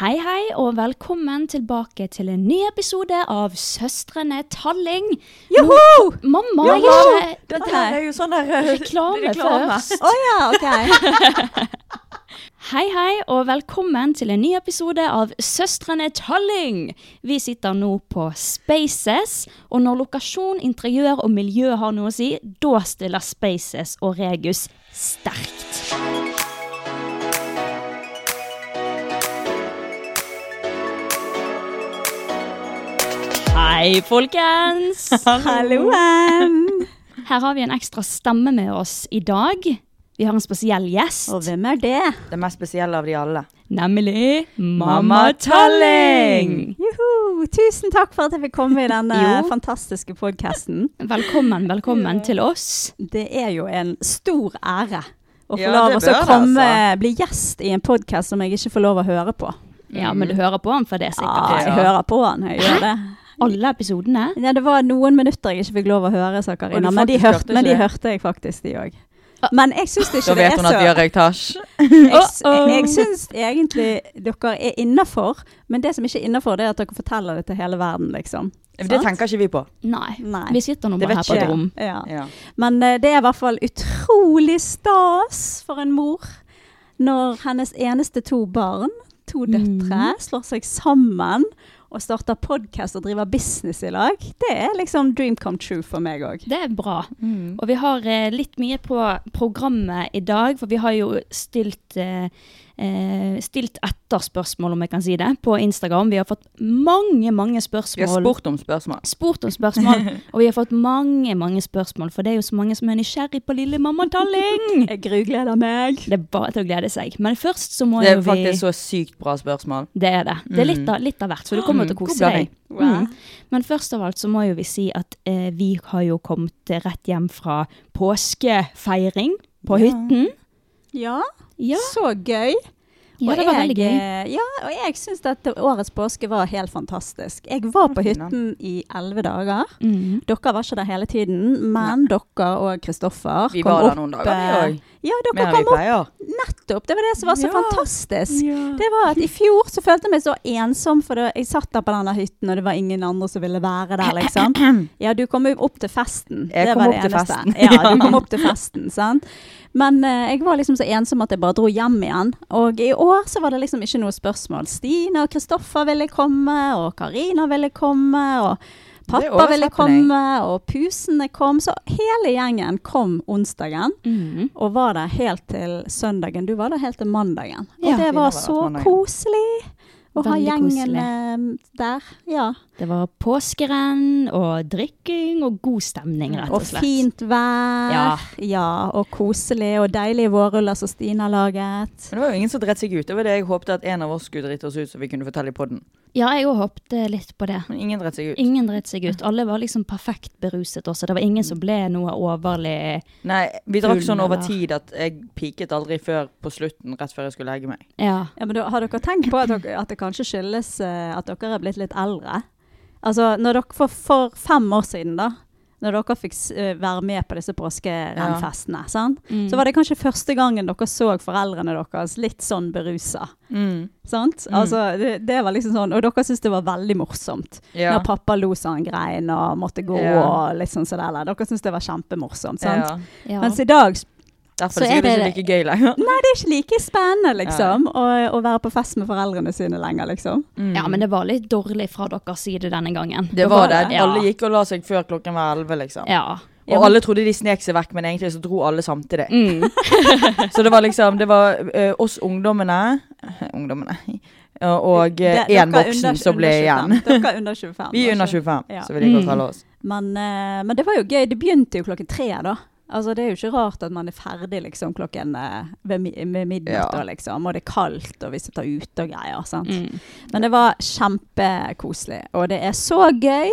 Hei, hei, og velkommen tilbake til en ny episode av Søstrene Talling. Joho! Nå- Mamma, jeg er ikke Dette Dette her er jo sånn der eh, Reklame først. Å ja, ok. Hei, hei, og velkommen til en ny episode av Søstrene Talling. Vi sitter nå på Spaces, og når lokasjon, interiør og miljø har noe å si, da stiller Spaces og Regus sterkt. Hei, folkens! Halloen! Her har vi en ekstra stemme med oss i dag. Vi har en spesiell gjest, Og hvem er det? Det mest spesielle av de alle. nemlig Mamma Mamma Talling! Juhu! Tusen takk for at jeg fikk komme i denne Jo. fantastiske podkasten. Velkommen, velkommen til oss. Det er jo en stor ære å få Ja, lov det å så bør det, komme, altså. bli gjest i en podkast som jeg ikke får lov å høre på. Ja, men du hører på han, for det er Ja, sikkert jeg Mm. ja. hører på han, jeg gjør det. alle episodene. Ja, det var noen minutter jeg ikke fikk lov å høre, sa Karina, Og du men de faktisk hørte, hørte men de ikke Ah. hørte jeg faktisk, de òg. Men jeg syns ikke Da det vet er hun at så vi har røykt hasj. Jeg, s- Uh-oh. jeg syns egentlig dere er innafor, men det som ikke er innafor, det er at dere forteller det til hele verden, liksom. Det tenker ikke vi på. Nei, Nei. vi sitter nå Det bare vet her på ikke et jeg. rom. Ja. Ja. Men eh, det er i hvert fall utrolig stas for en mor når hennes eneste to barn, to døtre, slår seg sammen og starter podkast og driver business i lag. Det er liksom dream come true for meg òg. Det er bra. Mm. Og vi har eh, litt mye på programmet i dag, for vi har jo stilt, eh, eh, stilt etter spørsmål, om jeg kan si det, på Instagram. Vi har fått mange, mange Vi har spørsmål. spurt om spørsmål. spurt om spørsmål, og vi har fått mange, mange spørsmål, for det er jo så mange som er nysgjerrig på lille mamma Dalling. Jeg grugleder meg. Det er bare til å glede seg. Men først så må Det er jo vi faktisk så sykt bra spørsmål. Det er det. Det er litt av, litt av hvert, så du kommer jo til å Mm, kose god deg. blanding. Mm. Men først av alt så må jo vi si at eh, vi har jo kommet eh, rett hjem fra påskefeiring på hytten. Ja, Ja, så gøy. ja, Og det var jeg, veldig gøy. eh, Ja, og jeg syns dette årets påske var helt fantastisk. Jeg var på fin, da. hytten i elleve dager. Mm. Dere var ikke der hele tiden, men dere og Kristoffer Vi kom var der opp, noen dager, eh, vi òg. Ja, dere Mer enn vi kom opp pleier. nettopp. Det var det som var så Ja. fantastisk. Det var at I fjor så følte jeg meg så ensom, for det, jeg satt der på denne hytten, og det var ingen andre som ville være der, liksom. Ja, du kom jo opp til festen. Jeg det kom var det opp til eneste. festen. Ja, du Ja. kom opp til festen, sant. Men eh, jeg var liksom så ensom at jeg bare dro hjem igjen. Og i år så var det liksom ikke noe spørsmål. Stine og Kristoffer ville komme, og Karina ville komme, og Det pappa overrasket ville meg. komme, og pusene kom. Så hele gjengen kom onsdagen. Mm. Og var der helt til søndagen. Du var der helt til mandagen. Og Ja. det var Stina var så der til mandagen. koselig å ha Veldig gjengen koselig. eh, der. Ja. Det var påskerenn og drikking og god stemning, rett og Og slett. fint vær. Ja. Ja, og koselig. Og deilige vårruller som Stina laget. Men det var jo ingen som dreit seg ut. Det var det jeg håpte at en av oss skulle drite oss ut, så vi kunne fortelle i poden. Ja, jeg òg håpte litt på det. Men ingen dreit seg ut. Ingen dritt seg ut. Alle var liksom perfekt beruset også. Det var ingen som ble noe overlig Nei, vi drakk Full, sånn over eller? tid at jeg piket aldri før på slutten, rett før jeg skulle legge meg. Ja. Ja, men da, har dere tenkt på at, dere, at det kanskje skyldes eh, at dere er blitt litt eldre? Altså, når dere for, for fem år siden, da, når dere fikk s- eh, være med på disse påskerennfestene, sant? Mm. så var det kanskje første gangen dere så foreldrene deres litt sånn berusa. Sant? Mm. Altså, det, det var liksom sånn, og dere syntes det var veldig morsomt. Ja. Når pappa lo så han grein og måtte gå Ja. og litt sånn sånn der. Dere syntes det var kjempemorsomt. sant? Ja. ja. Mens i dag Derfor Så er det sikkert er det- ikke like gøy lenger. Nei, det er ikke like spennende, liksom, å, å være på fest med foreldrene sine lenger, liksom. ja, men det var litt dårlig fra deres side denne gangen. Det var det. Ja. Alle gikk og la seg før klokken var elleve, liksom. Ja. Og alle trodde de snek seg vekk, men egentlig så dro alle samtidig. Mm. Så det var liksom Det var eh, oss ungdommene Ungdommene. Og Det- eh, dere én under- voksen som under ble 25. igjen. Dere er under 25. Vi er under altså. 25, Ja. så vil de godt Mm. kalle oss. Men, eh, men det var jo gøy. Det begynte jo klokken tre, da. Altså, det er jo ikke rart at man er ferdig liksom, klokken eh, ved, mi- ved midnatt, Ja. og, liksom, og det er kaldt, og vi sitter ute og greier. Sant? Mm. Men det var kjempekoselig, og det er så gøy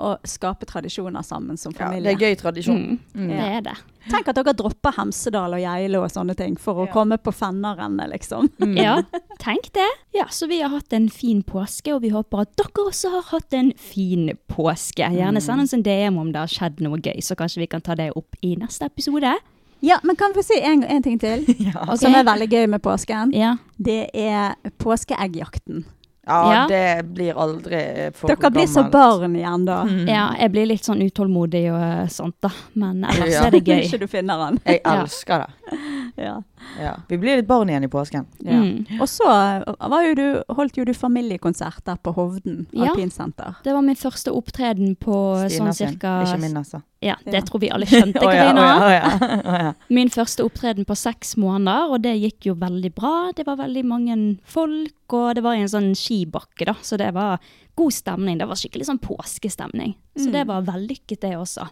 å skape tradisjoner sammen som Ja, familie. det er gøy tradisjon. Mm. Det er det. Tenk at dere dropper Hemsedal og Geilo og sånne ting for å komme på Fennarennet, liksom. Mm. Ja, tenk det. Ja, Så vi har hatt en fin påske, og vi håper at dere også har hatt en fin påske. Mm. Gjerne send oss en DM om det har skjedd noe gøy, så kanskje vi kan ta det opp i neste episode. Ja, men kan vi si en, en ting til, Ok? som er veldig gøy med påsken? Ja. Det er påskeeggjakten. Ja, Ja. det blir aldri eh, for Dere blir så gammelt. barn igjen da. Mm. ja, jeg blir litt sånn utålmodig og sånt, da. Men ellers Ja. er det Kanskje gøy. du finner den. Jeg Ja. elsker det. Ja. Ja. Vi blir litt barn igjen i påsken. Mm. Og så eh, var jo du, holdt jo du familiekonsert der på Hovden Ja. alpinsenter. Det var min første opptreden på Stina sånn sin. cirka Ikke min, altså. Ja, Ja. det tror vi alle skjønte, Å ja, Karina. å ja, å ja, å ja. Min første opptreden på seks måneder, og det gikk jo veldig bra. Det var veldig mange folk, og det var i en sånn skibakke, da. Så det var god stemning. Det var skikkelig sånn påskestemning. Så det var vellykket, det også.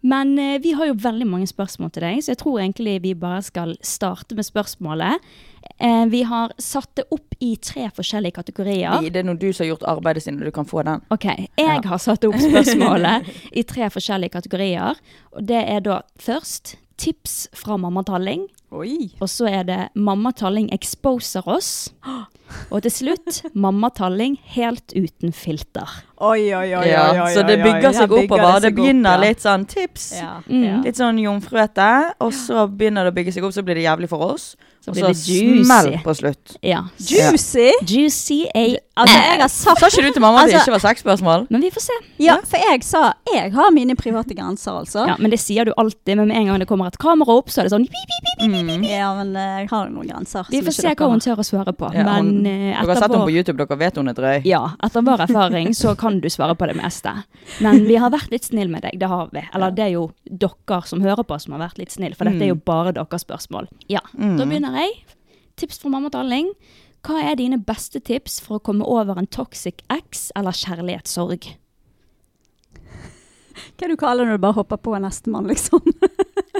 Men eh, vi har jo veldig mange spørsmål til deg, så jeg tror egentlig vi bare skal starte med spørsmålet. Eh, vi har satt det opp i tre forskjellige kategorier. Det er når du som har gjort arbeidet sitt, og du kan få den. Ok, jeg har satt opp spørsmålet i tre forskjellige kategorier. Og det er da først tips fra mamma Talling. Oi! Og så er det mamma Talling exposer oss. Og til slutt mamma Talling helt uten filter. Oi, oi, oi, Ja, oi, oi, så oi, det oi. bygger seg Her oppover. Det seg opp, begynner ja. litt sånn tips. Ja. Mm. Litt sånn jomfruete, og så begynner det å bygge seg opp, så blir det jævlig for oss. Så Og blir så det smell juicy. på slutt. Ja. Juicy! Juicy A. Altså, jeg har sagt Sa ikke du til mamma at det Altså- ikke var sexspørsmål? Men vi får se. Ja, for jeg sa jeg har mine private grenser, altså. Ja, men det sier du alltid. Men med en gang det kommer et kamera opp, så er det sånn pip, pip, pip. Ja, men eh, jeg har noen grenser. Vi som får ikke se dere hva hun har. tør å svare på. Ja, Men hun- eh, Dere har etter sett henne vår på YouTube, dere vet hun er drøy. Ja, etter vår erfaring så kan du svare på det meste. Men vi har vært litt snill med deg, det har vi. Eller det er jo dere som hører på som har vært litt snill, for dette Mm. er jo bare deres spørsmål. Ja, da begynner jeg. Tips fra mamma Dalling. Hva er dine beste tips for å komme over en toxic ex eller kjærlighetssorg? Hva du kaller du når du bare hopper på nestemann, liksom?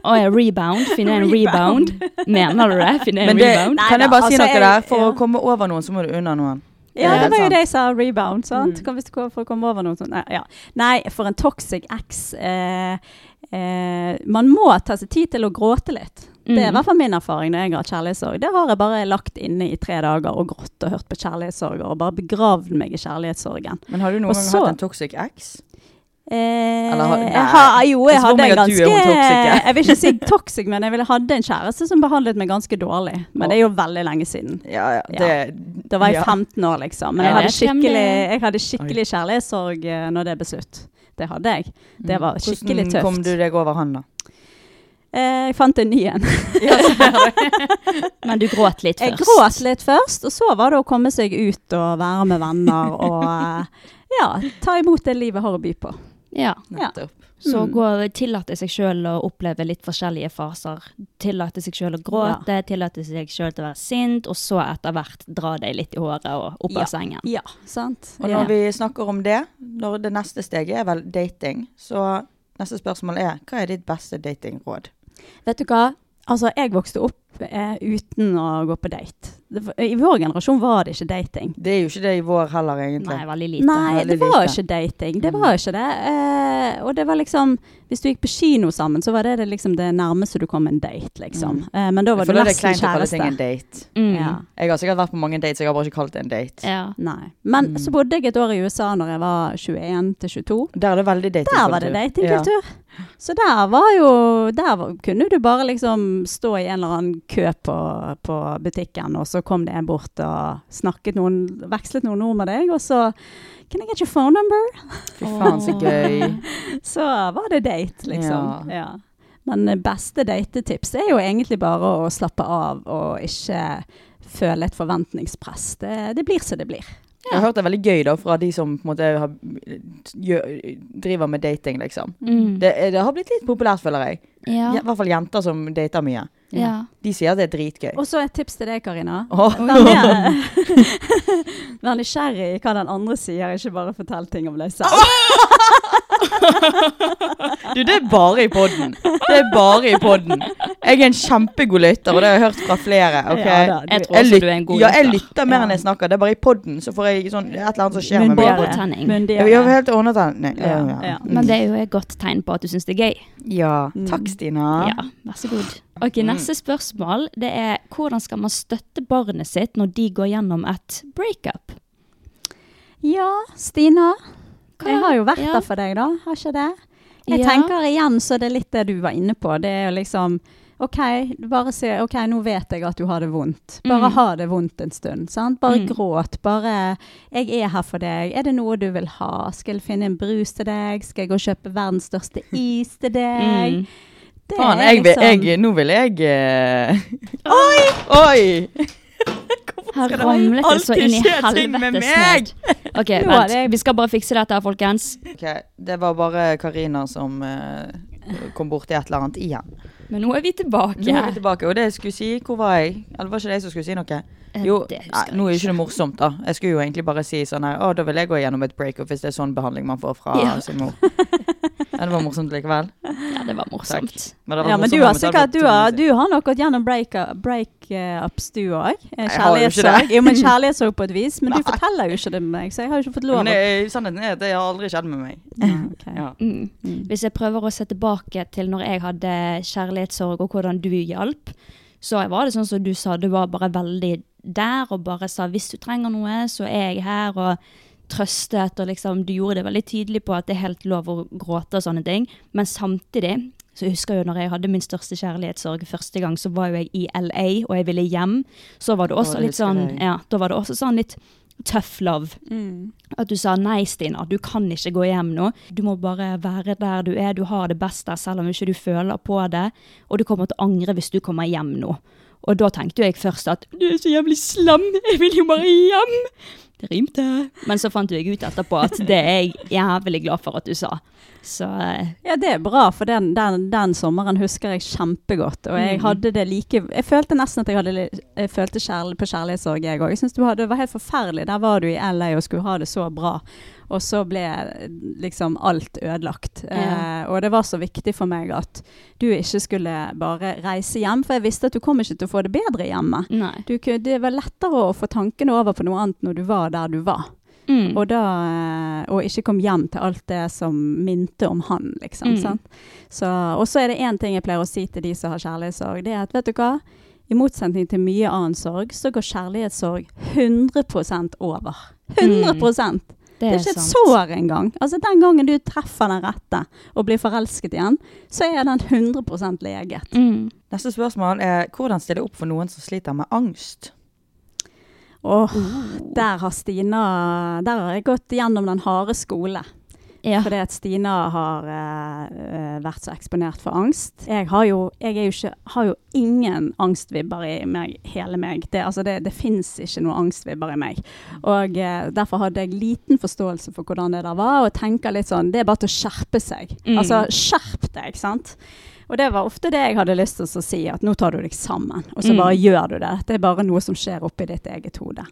Å ja, rebound. Finne en rebound. Mener du det? Finne en Men det, rebound? kan jeg bare si Nei, da, altså, noe jeg- der? For ja. å komme over noen, så må du unna noen. Ja, Ja, det var jo sant. det jeg sa, rebound, Mm. sant? Kan vi ikke få komme over noe sånt? Nei, ja. Nei, for en toxic ex. Eh, eh, man må ta seg tid til å gråte litt. Det er i Mm. hvert fall min erfaring når jeg har hatt kjærlighetssorg. Det har jeg bare lagt inne i tre dager og grått og hørt på kjærlighetssorger og bare begravd meg i kjærlighetssorgen. Men har du noen Og gang så- hatt en toxic ex? Eh, Eller har- jeg nei. har, jo, jeg Jeg tror hadde meg en at du er ganske hun toxic, ja. Jeg vil ikke si toxic, men jeg ville hadde en kjæreste som behandlet meg ganske dårlig. Men det er jo veldig lenge siden. Ja, ja. Ja. Det, Da var jeg ja. 15 år, liksom. Men Jeg jeg hadde vet hvem det skikkelig, er. jeg hadde skikkelig kjærlighetssorg eh, når det ble slutt. Det hadde jeg. Det var skikkelig Mm. Hvordan kom tøft. du deg over han, da? Eh, Jeg fant en ny en. Men du gråt litt Jeg først. gråt litt først, og så var det å komme seg ut og være med venner og eh, ja, ta imot det livet har å by på. Ja. Ja. Så Mm. gå, tillate seg sjøl å oppleve litt forskjellige faser. Tillate seg sjøl å gråte, tillate seg sjøl til å være sint, og så etter hvert dra deg litt i håret og opp av Ja. sengen. Ja, sant? Og Ja. når vi snakker om det, når det neste steget er vel dating, så neste spørsmål er hva er ditt beste datingråd? Vet du hva? Altså, jeg vokste opp eh, uten å gå på date. det var- I vår generasjon var det ikke dating. Det er jo ikke det i vår heller, egentlig. Nei, veldig lite. Nei, det veldig var lite. ikke dating. Det var ikke det. Eh, og det var liksom Hvis du gikk på kino sammen, så var det det, liksom det nærmeste du kom en date, liksom. Eh, men da var For du da er det nesten kleint å kalle ting en kjæreste. date. Mm. Ja. Jeg har sikkert vært på mange dates, jeg har bare ikke kalt det en date. Ja. Nei. Men så bodde jeg et år i USA når jeg var 21 til 22. Der er det veldig datingkultur. Der var det datingkultur. Så der var jo Der var, kunne du bare liksom stå i en eller annen kø på, på butikken, og så kom det en bort og snakket noen Vekslet noen ord med deg, og så Can I get your phone number? Ja. Fy faen, så gøy. Så var det date, liksom. Ja. Ja. Men det beste datetips er jo egentlig bare å slappe av og ikke føle et forventningspress. Det, det blir som det blir. Jeg har hørt det er veldig gøy da, fra de som på en måte har, gjør, driver med dating, liksom. Mm. Det, er- det har blitt litt populært, føler jeg. Ja. I hvert fall jenter som dater mye. ja. Mm. De sier det er dritgøy. Og så et tips til deg, Karina. Åh. Vær mer- Vær nysgjerrig i hva den andre sier, ikke bare fortell ting om deg selv. Ah! Du, det er bare i podden. Det er bare i podden. Jeg er en kjempegod lytter, og det har jeg hørt fra flere. ok? Ja da, du- Jeg tror også lyt- du er en god Ja, jeg lytter. lytter mer enn jeg snakker. Det er bare i podden, så får jeg sånn, et eller annet som skjer med meg. Mundigere. Overtenning. Myndigere. Jeg er helt undertent. Nei, Ja, Ja, ja. ja. Mm. Men det er jo et godt tegn på at du syns det er gøy. ja. Takk, Stina. Ja, vær så god. Mm. Ok, Neste spørsmål det er hvordan skal man støtte barnet sitt når de går gjennom et breakup? Ja, Stina. Hva- Jeg har jo vært ja. der for deg, da. Har ikke det? Jeg Ja. tenker igjen, så det er litt det du var inne på. Det er jo liksom OK, bare si OK, nå vet jeg at du har det vondt. Bare Mm. ha det vondt en stund. sant? Bare Mm. gråt. Bare 'Jeg er her for deg. Er det noe du vil ha? Skal jeg finne en brus til deg? Skal jeg gå og kjøpe verdens største is til deg?' Mm. Det Faen, er jeg, vil- liksom- jeg, nå vil jeg eh, Oi! Oi! Her det ramlet det så alltid inn i skje ting med helvetes meg? ned. Ok, Nå er vent. det- Vi skal bare fikse dette, her, folkens. Ok, Det var bare Karina som eh, kom borti et eller annet igjen. Men nå er vi tilbake. Nå er vi tilbake, og det jeg skulle si, hvor var jeg? Eller var ikke det jeg som skulle si noe? Eh, Jo, det husker nei, jeg nå er jo ikke det morsomt da. Jeg skulle jo egentlig bare si sånn her, å da vil jeg gå gjennom et breakup hvis det er sånn behandling man får fra Ja. sin mor. Ja, det var morsomt likevel. Ja, det var morsomt. Men det var Ja, men morsomt du har om det hadde sikkert blitt du har, to minutter. du har nok gått gjennom breakups, break eh, ups, du òg. Jeg har jo ikke det. Kjærlighetssorg. Jo, men kjærlighetssorg på et vis. Men du forteller jo ikke det med meg, så jeg har jo ikke fått lov. Men å- det, sannheten er at det har aldri skjedd med meg. Nei, ok. Ja. Mm. Hvis jeg prøver å se tilbake til når jeg hadde kjærlighetssorg og hvordan du hjalp, så var det sånn som du sa, du var bare veldig der og bare sa hvis du trenger noe, så er jeg her og trøstet og liksom, du gjorde det veldig tydelig på at det er helt lov å gråte og sånne ting, men samtidig så jeg husker jo når jeg hadde min største kjærlighetssorg første gang, så var jo jeg i LA, og jeg ville hjem. Så var det også det litt husker sånn, jeg. ja, da var det også sånn litt tough love. At du sa nei, Stina, du kan ikke gå hjem nå. Du må bare være der du er. Du har det best der, selv om ikke du føler på det. Og du kommer til å angre hvis du kommer hjem nå. Og da tenkte jo jeg først at du er så jævlig slam, jeg vil jo bare hjem. Det rimte. Men så fant jo jeg ut etterpå at det er jeg jævlig glad for at du sa. Så eh, Ja, det er bra, for den, den, den sommeren husker jeg kjempegodt. Og jeg hadde det like Jeg følte nesten at jeg hadde li- jeg følte kjærl- på kjærlighetssorg, jeg òg. Jeg syns det var helt forferdelig. Der var du i LA og skulle ha det så bra, og så ble liksom alt ødelagt. Ja. Eh, og det var så viktig for meg at du ikke skulle bare reise hjem, for jeg visste at du kom ikke til å få det bedre hjemme. nei. Du, kunne- det var lettere å få tankene over på noe annet når du var der du var. Mm. Og, da, eh, og ikke kom hjem til alt det som minte om han, liksom. Mm. Sant? Så, og så er det én ting jeg pleier å si til de som har kjærlighetssorg. Det er at vet du hva? I motsetning til mye annen sorg, så går kjærlighetssorg 100 over. 100 Det er ikke et sår engang. Altså, den gangen du treffer den rette og blir forelsket i han, så er den 100 leget. Mm. Neste spørsmål er, hvordan stille opp for noen som sliter med angst? Åh, der har Stina Der har jeg gått gjennom den harde skole. Ja. Fordi at Stina har eh, eh, vært så eksponert for angst. Jeg har jo, jeg er jo, ikke, har jo ingen angstvibber i meg, hele meg. Det, altså det, det fins ikke noen angstvibber i meg. Og eh, Derfor hadde jeg liten forståelse for hvordan det der var, og tenker litt sånn Det er bare til å skjerpe seg. Mm. Altså, skjerp deg, sant? Og det var ofte det jeg hadde lyst til å si, at nå tar du deg sammen, og så Mm. bare gjør du det. Det er bare noe som skjer oppi ditt eget hode.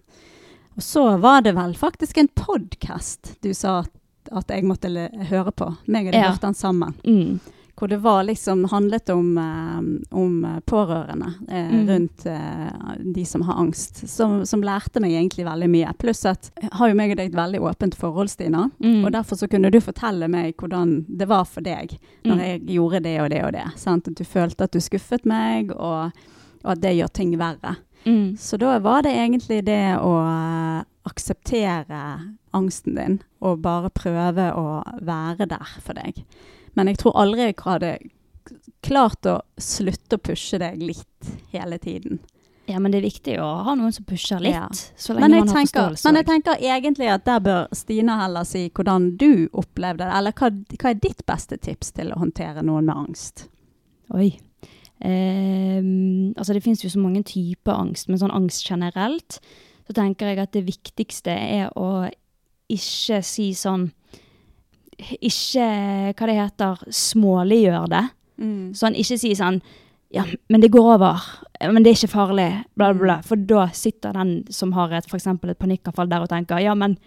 Og så var det vel faktisk en podkast du sa at, at jeg måtte le høre på. Meg og du Ja. hørte den sammen. Mm. Hvor det var liksom handlet om, eh, om eh, pårørende eh, Mm. rundt eh, de som har angst. Som, som lærte meg egentlig veldig mye. Pluss at jeg har jo meg og deg et veldig åpent forhold, Stina. Mm. Og derfor så kunne du fortelle meg hvordan det var for deg Mm. når jeg gjorde det og det og det. Sant? At du følte at du skuffet meg, og, og at det gjør ting verre. Mm. Så da var det egentlig det å eh, akseptere angsten din, og bare prøve å være der for deg. Men jeg tror aldri jeg hadde klart å slutte å pushe deg litt hele tiden. Ja, men det er viktig å ha noen som pusher litt, Ja. så lenge Men jeg, man har tenker, forståelse. men jeg tenker egentlig at der bør Stina heller si hvordan du opplevde det, eller hva, hva er ditt beste tips til å håndtere noen med angst? Oi. Ehm, altså det finnes jo så mange typer angst, men sånn angst generelt, så tenker jeg at det viktigste er å ikke si sånn Ikke hva det heter småliggjør det. Sånn, ikke si sånn Ja, men det går over. Ja, Men det er ikke farlig. Bla, bla, bla. For da sitter den som har et, for eksempel et panikkanfall der og tenker Ja, men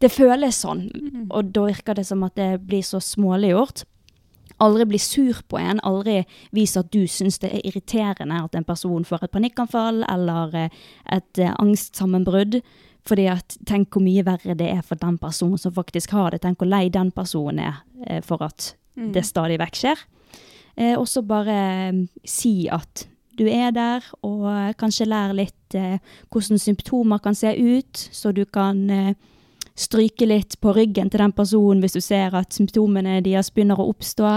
det føles sånn. Mm. Og da virker det som at det blir så småliggjort. Aldri bli sur på en, aldri vis at du syns det er irriterende at en person får et panikkanfall eller eh, et eh, angstsammenbrudd. Fordi at tenk hvor mye verre det er for den personen som faktisk har det. Tenk hvor lei den personen er eh, for at det stadig vekk skjer. Eh, og så bare eh, si at du er der, og eh, kanskje lær litt eh, hvordan symptomer kan se ut, så du kan eh, stryke litt på ryggen til den personen hvis du ser at symptomene deres begynner å oppstå.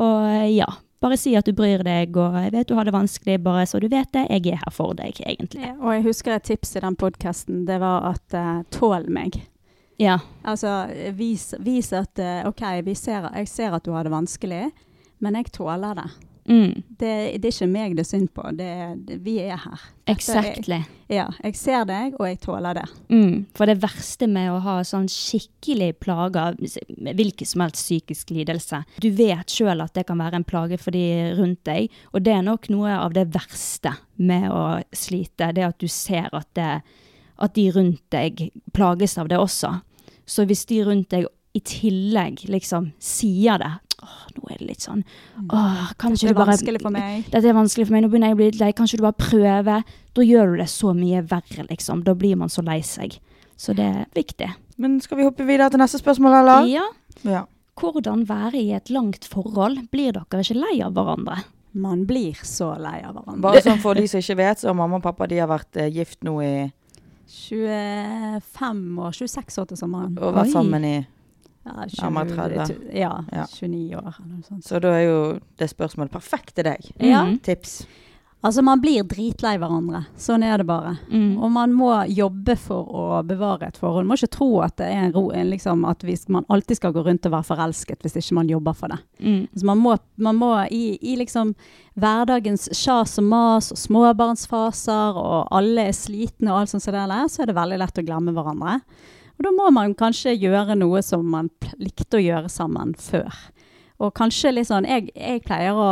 Og eh, ja, bare si at du bryr deg, og jeg vet du har det vanskelig, bare så du vet det, jeg er her for deg, egentlig. Og jeg husker et tips i den podkasten, det var at eh, tål meg. Ja. Altså, vis, vis at eh, OK, vi ser, jeg ser at du har det vanskelig, men jeg tåler det. Mm. Det, det er ikke meg det er synd på. Det, det, vi er her. Exactly. Ja, jeg ser deg, og jeg tåler det. Mm, for det verste med å ha sånn skikkelig plager, med hvilken som helst psykisk lidelse Du vet sjøl at det kan være en plage for de rundt deg, og det er nok noe av det verste med å slite. Det at du ser at, det, at de rundt deg plages av det også. Så hvis de rundt deg i tillegg liksom sier det Åh, nå er det litt sånn Åh, kan Dette Mm. ikke er du bare vanskelig for meg. dette er vanskelig for meg, nå begynner jeg å bli litt lei, kanskje du bare prøver? Da gjør du det så mye verre, liksom. Da blir man så lei seg. Så det er viktig. Men skal vi hoppe videre til neste spørsmål, eller? Ja, Ja. hvordan være i et langt forhold? Blir dere ikke lei av hverandre? Man blir så lei av hverandre. Bare sånn for de som ikke vet, så har mamma og pappa de har vært eh, gift nå i 25 år, 26 år til sommeren. Og vært Oi. sammen i Ja, Nærmere 30. Ja, Ja. 29 år eller noe sånt. Så da er jo det spørsmålet perfekt til deg. Ja. Mhm. Tips. Altså, man blir dritlei hverandre. Sånn er det bare. Mm. Og man må jobbe for å bevare et forhold. Man må ikke tro at, det er en ro, en liksom, at vi, man alltid skal gå rundt og være forelsket hvis ikke man jobber for det. Mm. Altså, man må, man må i, i liksom hverdagens sjas og mas og småbarnsfaser, og alle er slitne og alt sånt som det der, så er det veldig lett å glemme hverandre. Og da må man kanskje gjøre noe som man pl- likte å gjøre sammen før. Og kanskje litt sånn Jeg, jeg pleier å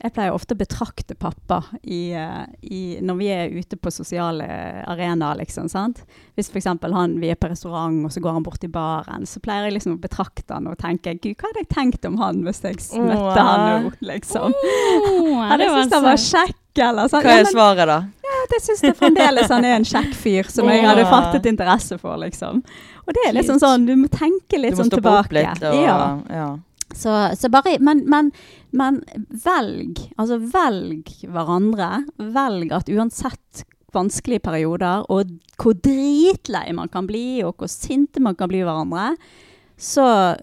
jeg pleier ofte å betrakte pappa i, eh, i, når vi er ute på sosiale arenaer. Liksom, sant? Hvis for eksempel han, vi er på restaurant, og så går han bort i baren, så pleier jeg liksom å betrakte han og tenke Gud, hva hadde jeg tenkt om han hvis jeg s- Åh. møtte han nå? Liksom. Åh, Hadde det jeg var syntes han var søtt. kjekk, eller sånn. Hva Ja, er men- svaret, da? at jeg syns det fremdeles han er en kjekk fyr som jeg Ja. hadde fattet interesse for, liksom. Og det er liksom Cute. sånn, du må tenke litt Du må sånn stoppe opp tilbake. litt. Og, ja. ja. så, så bare men, men, men velg. Altså velg hverandre. Velg at uansett vanskelige perioder, og hvor dritlei man kan bli, og hvor sinte man kan bli hverandre, så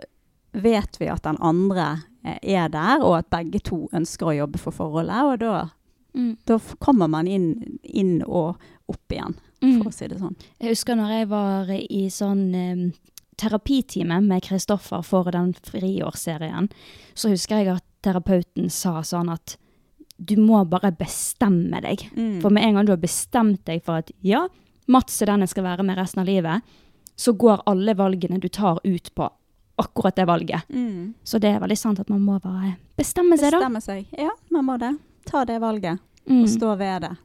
vet vi at den andre eh, er der, og at begge to ønsker å jobbe for forholdet, og da Mm. da f- kommer man inn, inn og opp igjen, Mm. for å si det sånn. Jeg husker når jeg var i sånn em, terapitime med Kristoffer for den friårsserien, så husker jeg at terapeuten sa sånn at du må bare bestemme deg. Mm. For med en gang du har bestemt deg for at ja, Mats er den jeg skal være med resten av livet, så går alle valgene du tar ut på akkurat det valget. Så det er veldig sant at man må bare bestemme seg, da. Bestemme Mm. seg. Ja, man må det. Ta det valget, og Mm. stå ved det.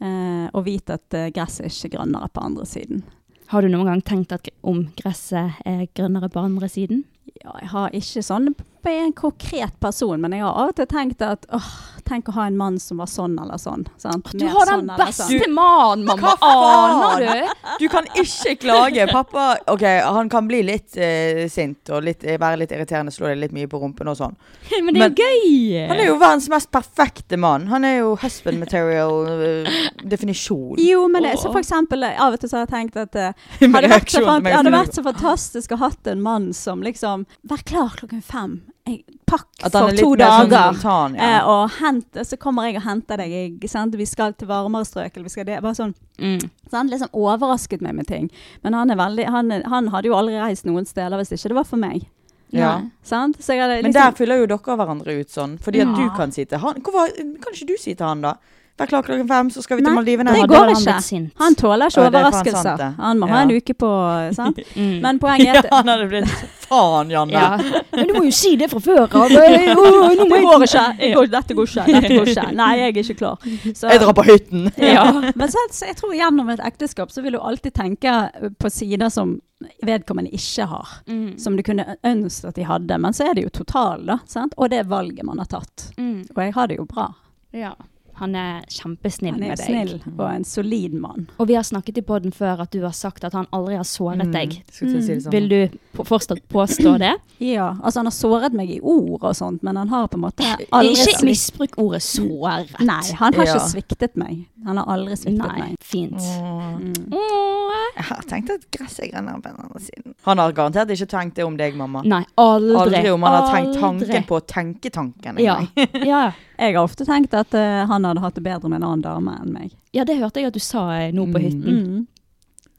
Eh, og vite at eh, gresset er ikke grønnere på andre siden. Har du noen gang tenkt at, om gresset er grønnere på andre siden? Ja, jeg har ikke sånn håper jeg er en konkret person, men jeg har av og til tenkt at åh, tenk å ha en mann som var sånn eller sånn. Sant? Du Mer har den sånn eller sånn. beste mannen, mamma! Hva faen? Aner du? Du kan ikke klage. Pappa ok, han kan bli litt eh, sint og litt, være litt irriterende, slå deg litt mye på rumpen og sånn. Men det er Men- jo gøy! Han er jo verdens mest perfekte mann. Han er jo husband material eh, definisjon. Jo, men det, så Åh. for eksempel, eh, av og til så har jeg tenkt at eh, Min hadde vært så, reaksjon fan, til meg hadde skulle- vært så fantastisk å hatt en mann som liksom Vær klar klokken fem. Jeg, pakk At han for er to litt mer sånn dager. spontan. Ja. eh, og hent, så kommer jeg og henter deg. Ikke sant? Vi skal til varmere strøk. Eller vi skal det. Bare sånn Mm. Så han liksom overrasket meg med ting. Men han, er veldig, han, er- han hadde jo aldri reist noen steder hvis ikke det var for meg. ja. Nei. Sant? Så jeg hadde Men der liksom, fyller jo dere hverandre ut sånn. Fordi at Ja. du kan si til han Hvorfor kan ikke du si til han, da? Vær klar klokken fem, så skal vi til Nei, Maldivene. det Da Han- hadde går vel ikke. blitt sint. han tåler ikke Ja, det er faen sant, overraskelser. det. Han må ha Ja. en uke på sant? Mm. Men poenget Ja, er at han hadde blitt Faen, Janne. ja. Men du må jo si det fra før av. det går ikke. Jeg går, dette går ikke. Dette går ikke. Nei, jeg er ikke klar. Så- Jeg drar på hytten. Ja. Men så, så jeg tror gjennom et ekteskap så vil du alltid tenke på sider som vedkommende ikke har. Mm. Som du kunne ønske at de hadde. Men så er det jo total, da. Sant? Og det er valget man har tatt. Mm. Og jeg har det jo bra. Ja. Han er kjempesnill Han er med jo deg. Mm. snill og en solid mann. Og vi har snakket i podden før at du har sagt at han aldri har såret deg. Skal Mm, til å si det Mm, sånn. Vil du på- fortsatt påstå det? Ja, altså han har såret meg i ord og sånt, men han har på en måte aldri Ikke sviktet misbruk ordet såret. Nei, han har Ja. ikke sviktet meg. Han har aldri sviktet Nei, meg. fint. Mm. Åh. Jeg tenkte at gresset grønner på den andre siden. Han har garantert ikke tenkt det om deg, mamma. Nei, aldri. Aldri om han har tenkt aldri. tanken på å tenke tanken. Ja. engang. Ja. Jeg har ofte tenkt at eh, han hadde hatt det bedre med en annen dame enn meg. ja, det hørte jeg at du sa eh, nå på hytten. Mm.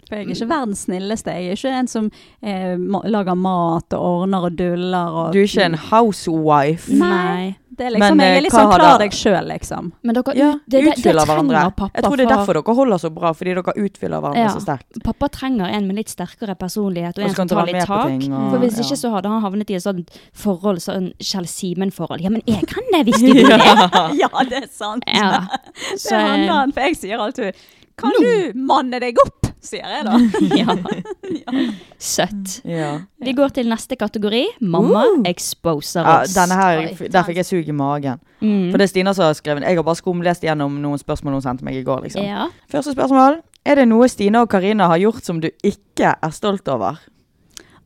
For jeg er Mm. ikke verdens snilleste. Jeg er ikke en som eh, ma- lager mat og ordner og duller og Du er ikke en Mm. housewife. Nei. Det er liksom, Men, Jeg eh, er litt sånn hva har klar da- deg sjøl, liksom. Men dere Ja, ut- det, det, det utfyller hverandre. trenger pappa Jeg tror det er fra- derfor dere holder så bra, fordi dere utfyller hverandre Ja. så sterkt. Pappa trenger en med litt sterkere personlighet og Og en så som kan tar dere litt være med på tak. ting, og- For Hvis ja. ikke så hadde han havnet i et sånt forhold, sånn Kjell Simen-forhold. Ja, men jeg kan det hvis du vil det. ja, det er sant. Ja. det handler han, for jeg sier alltid Kan du manne deg opp? sier jeg da. Ja. Søtt. Ja. Vi går til neste kategori. Mamma exposer Uh. Ja, oss. denne her, Oi, der fikk jeg sug i magen. Mm. For det er Stina som har skrevet. Jeg har bare skumlest gjennom noen spørsmål hun sendte meg i går. liksom. Ja. Første spørsmål. Er det noe Stina og Karina har gjort som du ikke er stolt over?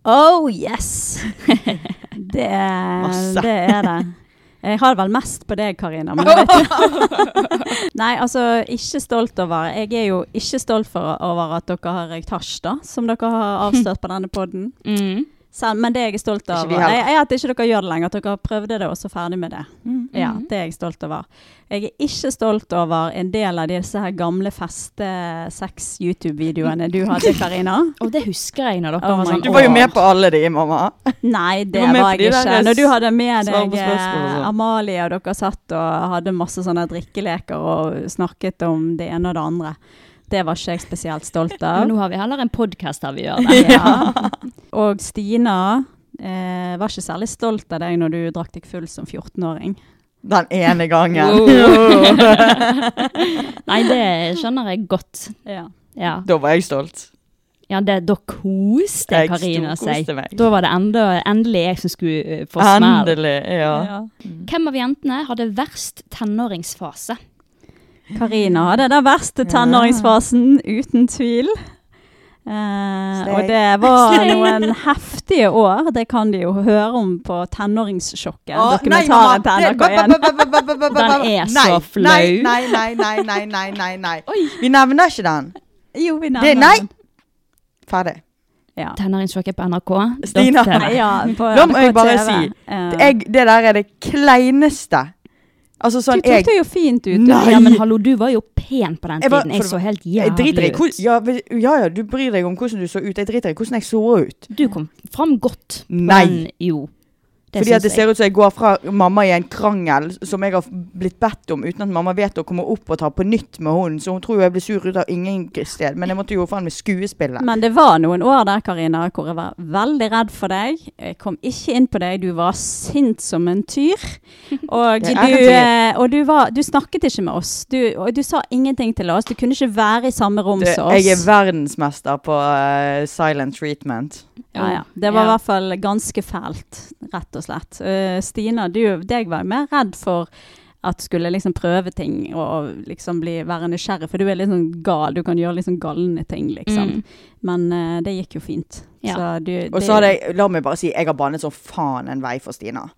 Oh yes! Det, Masse. det er det. Jeg har vel mest på deg, Karina. Men jeg vet ikke. Nei, altså, ikke stolt over Jeg er jo ikke stolt for, over at dere har røykt hasj, da, som dere har avslørt på denne poden. Mm. Men det er jeg stolt Ikke vi over, heller. Mm, er er at ikke dere gjør det lenger. At dere prøvde det, og så ferdig med det. Ja, Det er jeg stolt over. Jeg er ikke stolt over en del av disse her gamle feste-sex-YouTube-videoene du hadde, Karina. Og det husker jeg når dere Oh var my sånn Du var jo «Åh, med på alle de, mamma. Nei, det var var, med på de jeg ikke. der eh, Når du hadde med svar på deg spørsmål og eh, sånn. Amalie, og dere satt og hadde masse sånne drikkeleker og snakket om det ene og det andre. Det var ikke jeg spesielt stolt Men av. nå har vi heller en podkast der vi gjør det. Ja. Og Stina eh, var ikke særlig stolt av deg når du drakk deg full som 14-åring. Den ene gangen. Nei, det skjønner jeg godt. Ja. Ja, Da var jeg stolt. ja det, da koste Jeg Karina seg. storkoste meg. Da var det enda, endelig jeg som skulle eh, få smell. Endelig. Ja. Hvem av jentene hadde verst tenåringsfase? Karina hadde den verste tenåringsfasen, uten tvil. Eh, og det var noen heftige år. Det kan de jo høre om på Tenåringssjokket. Å, nei, mamma. dokumentaren til Nei, NRK1. ba, ba, ba, ba, ba, ba, ba, ba. Den er Nei, så flau. Nei, nei, nei, nei, nei, nei, nei. Vi nevner ikke den. Jo, vi Det, nærmer nei! den. Ferdig. Ja. Tenåringssjokket på NRK. Stina. Dette- Nei, ja, på Da må jeg NRK bare TV. si, Ja. Jeg, det der er det kleineste. Altså Du sånn tok jeg det jo fint ut. Nei. Ja, men hallo, du var jo pen på den Jeg var- tiden. Jeg for så det helt jeg driter i jævlig hvor- ut. ja, vel, ja ja, du bryr deg om hvordan du så ut. Jeg driter i hvordan jeg så ut. Du kom fram godt. på Nei. den- Jo. Det Fordi at det syns ser jeg. ut som jeg går fra mamma i en krangel som jeg har blitt bedt om uten at mamma vet å komme opp og ta på nytt med henne. Så hun tror jo jeg blir sur ut av ingen sted. Men jeg måtte jo faen meg skuespille. Men det var noen år der, Karina, hvor jeg var veldig redd for deg. Jeg kom ikke inn på deg. Du var sint som en tyr. Og, Det er du, en tyr. eh, og du, var, du snakket ikke med oss. Du, og du sa ingenting til oss. Du kunne ikke være i samme rom Du, som oss. jeg er verdensmester på eh, silent treatment. Ja, ja. Det var i hvert fall ganske fælt, rett og slett. Eh, Stina, du, deg var jeg mer redd for at skulle liksom prøve ting og, og liksom bli, være nysgjerrig, for du er litt sånn gal. Du kan gjøre litt sånn galne ting, liksom. Mm. Men eh, det gikk jo fint. Ja. Så du, det, Og så hadde jeg, la meg bare si, jeg har banet som faen en vei for Stina.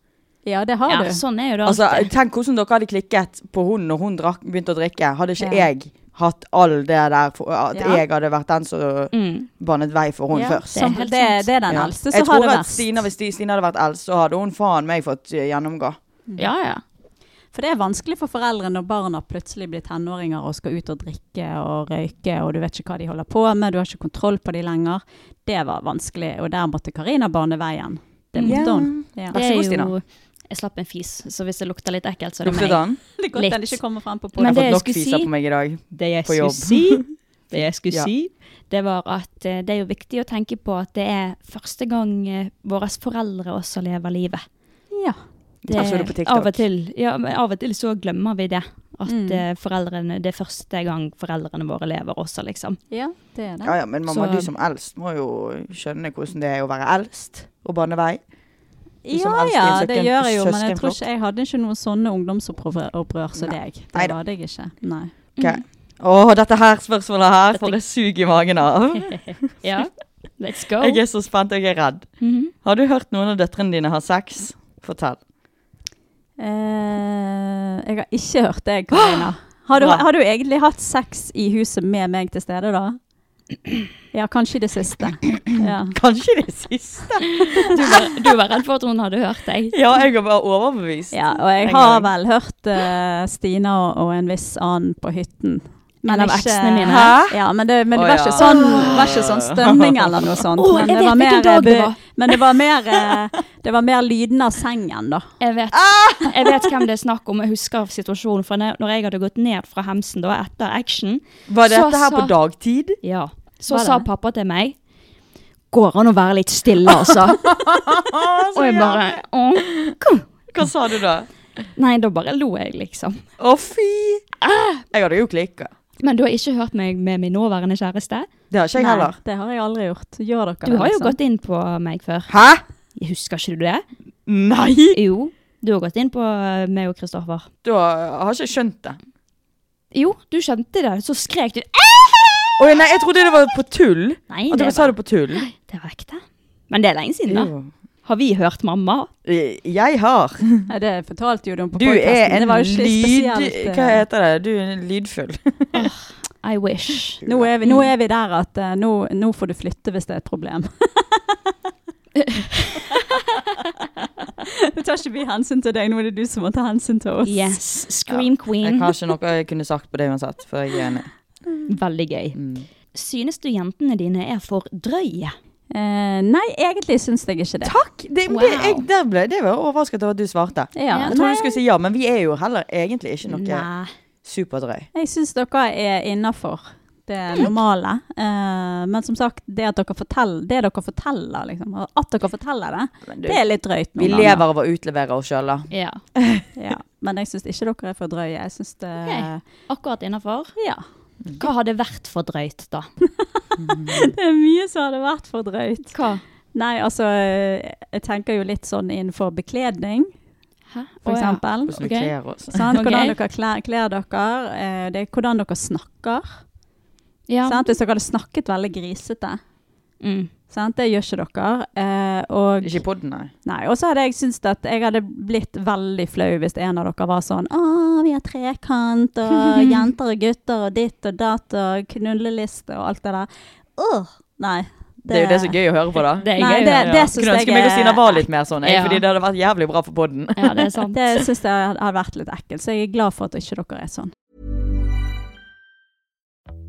Ja, det har Ja, du. sånn er jo det Altså, alltid. tenk hvordan dere hadde klikket på hun når hun drakk, begynte å drikke. Hadde ikke Ja. jeg hatt all det der, for, at Ja. jeg hadde vært den som mm. banet vei for hun ja, først. Det er sånn, helt det, sant. det er den Ja. eldste Jeg som har tror det at verst. Stina, hvis de- Stina hadde vært eldst, så hadde hun faen meg fått eh, gjennomgå. Ja, ja. For det er vanskelig for foreldre når barna plutselig blir tenåringer og skal ut og drikke og røyke, og du vet ikke hva de holder på med, du har ikke kontroll på de lenger. Det var vanskelig, og der måtte Karina bane veien. Det måtte Ja. hun. Ja. Vær Det så god, er Stina. jo Jeg slapp en fis, så hvis det lukter litt ekkelt, så er det Luktet meg. han? Det er Litt. godt den ikke kommer frem på Men Jeg har podden. det jeg fått nok skulle fiser si- på meg i dag. Det jeg På jobb. skulle si, det, jeg skulle Ja. si, det var at eh, det er jo viktig å tenke på at det er første gang eh, våre foreldre også lever livet. Ja. Det, Jeg så det på TikTok. Av og, til, ja, men av og til så glemmer vi det. At Mm. eh, foreldrene, det er første gang foreldrene våre lever også, liksom. ja, det er det. Ja, ja, men mamma, Så- du som eldst må jo skjønne hvordan det er å være eldst og bane vei. Du som Ja eldst i en ja, det søsken- gjør jeg jo, men jeg tror søskenflokk. ikke jeg hadde ikke noen sånne ungdomsopprør som deg. Det Neida. hadde jeg ikke. Nei. Ok. Mm. Åh, dette her spørsmålet her får Dette- jeg sug i magen av. Ja, let's go. Jeg er så spent, og jeg er redd. Mhm. Har du hørt noen av døtrene dine ha sex? Fortell. Eh, jeg har ikke hørt deg, Karina. Har du, Bra. har du egentlig hatt sex i huset med meg til stede, da? Ja, kanskje i det siste. Ja. Kanskje det siste? Du, var, du var redd for at hun hadde hørt deg. Ja, jeg er bare overbevist. ja og jeg har vel hørt eh, Stina og, og en viss annen på hytten. En av ikke- eksene mine. Hæ? Ja, men det, men det Å, var, ja. ikke sånn, var ikke sånn stønning eller noe sånt. Å, men jeg vet mer, hvilken dag det eh, bu- var. Men det var mer, eh, det var mer lyden av sengen, da. Jeg vet, Ah! jeg vet hvem det er snakk om. Jeg husker situasjonen. For når- når jeg hadde gått ned fra hemsen da, etter action Var så dette her på sa- dagtid? Ja. Så Var det? sa pappa til meg Går an å være litt stille, altså? Og jeg bare «Åh». Hva sa du da? Nei, da bare lo jeg, liksom. Å, fy! Ah! Jeg hadde jo klikka. Men du har ikke hørt meg med min nåværende kjæreste? Det har ikke jeg heller. det har jeg aldri gjort. Gjør dere Du har jo liksom? gått inn på meg før. Hæ? Jeg Husker ikke du det? Nei! Jo. Du har gått inn på eh, meg og Kristoffer. Du har, har ikke skjønt det. Jo, du skjønte det. Så skrek du Oi, nei, jeg trodde det var på tull. Nei, At det dere sa var, det på tull. det var ekte. Men det er lenge siden, da. Jo. Har vi hørt mamma? Eh, Jeg har. Nei, det fortalte jo du om på Du er podkasten. en Det var jo ikke lyd... spesielt. eh, Hva heter det? Du er en lydfull. I wish. Nå er, vi, nå er vi der at eh, nå, nå får du flytte hvis det er et problem. Nå tar ikke vi hensyn til deg, nå er det du som må ta hensyn til oss. Yes. Scream Jeg queen. har ikke noe jeg kunne sagt på det uansett, for jeg er enig. Veldig gøy. Mm. Synes du jentene dine er for drøye? Eh, nei, egentlig syns jeg ikke det. Takk! Det, Wow. det, jeg, der ble, det var jeg overrasket over at du svarte. Ja, Jeg Jeg trodde nei, du skulle si ja, men vi er jo heller egentlig ikke noe Nei. superdrøy. jeg syns dere er innafor det normale. Eh, men som sagt, det, at dere forteller, det dere forteller, liksom, og at dere forteller det, Men du, det er litt drøyt vi noen lever av å utlevere oss sjøl, da. Ja. Ja. Men jeg syns ikke dere er for drøye. Jeg syns det Ok. Akkurat innafor. Ja. Mm. Hva hadde vært for drøyt, da? Det er mye som hadde vært for drøyt. Hva? Nei, altså eh, Jeg tenker jo litt sånn innenfor bekledning, Hæ? for Å, ja. eksempel. Hvordan vi Ok. kler oss. Sant? Hvordan Ok. dere kler, kler dere. eh, Det er hvordan dere snakker. Ja. Sant? Hvis dere hadde snakket veldig grisete. Mm. Sant? Det gjør ikke dere. eh, Og Ikke i podden, nei. nei, og så hadde jeg syntes at jeg hadde blitt veldig flau hvis en av dere var sånn Å, vi har trekant, og jenter og gutter, og ditt og datt, og knulleliste, og alt det der. Åh! Nei. Det er jo det som er gøy å høre på, da. Det er Nei, gøy. det- ja. det- synes Kunne jeg ønske meg og er- Stina var litt mer sånn, jeg, Ja. fordi det hadde vært jævlig bra for podden. ja, det er sant. Det syns jeg hadde vært litt ekkelt, så jeg er glad for at ikke dere er sånn.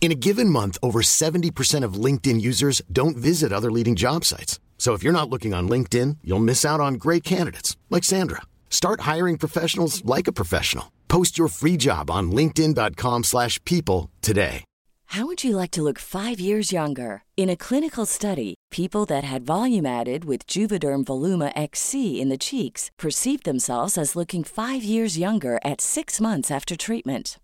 In a given month, over 70% of LinkedIn users don't visit other leading job sites. So if you're not looking on LinkedIn, you'll miss out on great candidates like Sandra. Start hiring professionals like a professional. Post your free job on linkedin.com/people slash people today. How would you like to look five years younger? In a clinical study, people that had volume added with Juvederm Voluma XC in the cheeks perceived themselves as looking five years younger at six months after treatment.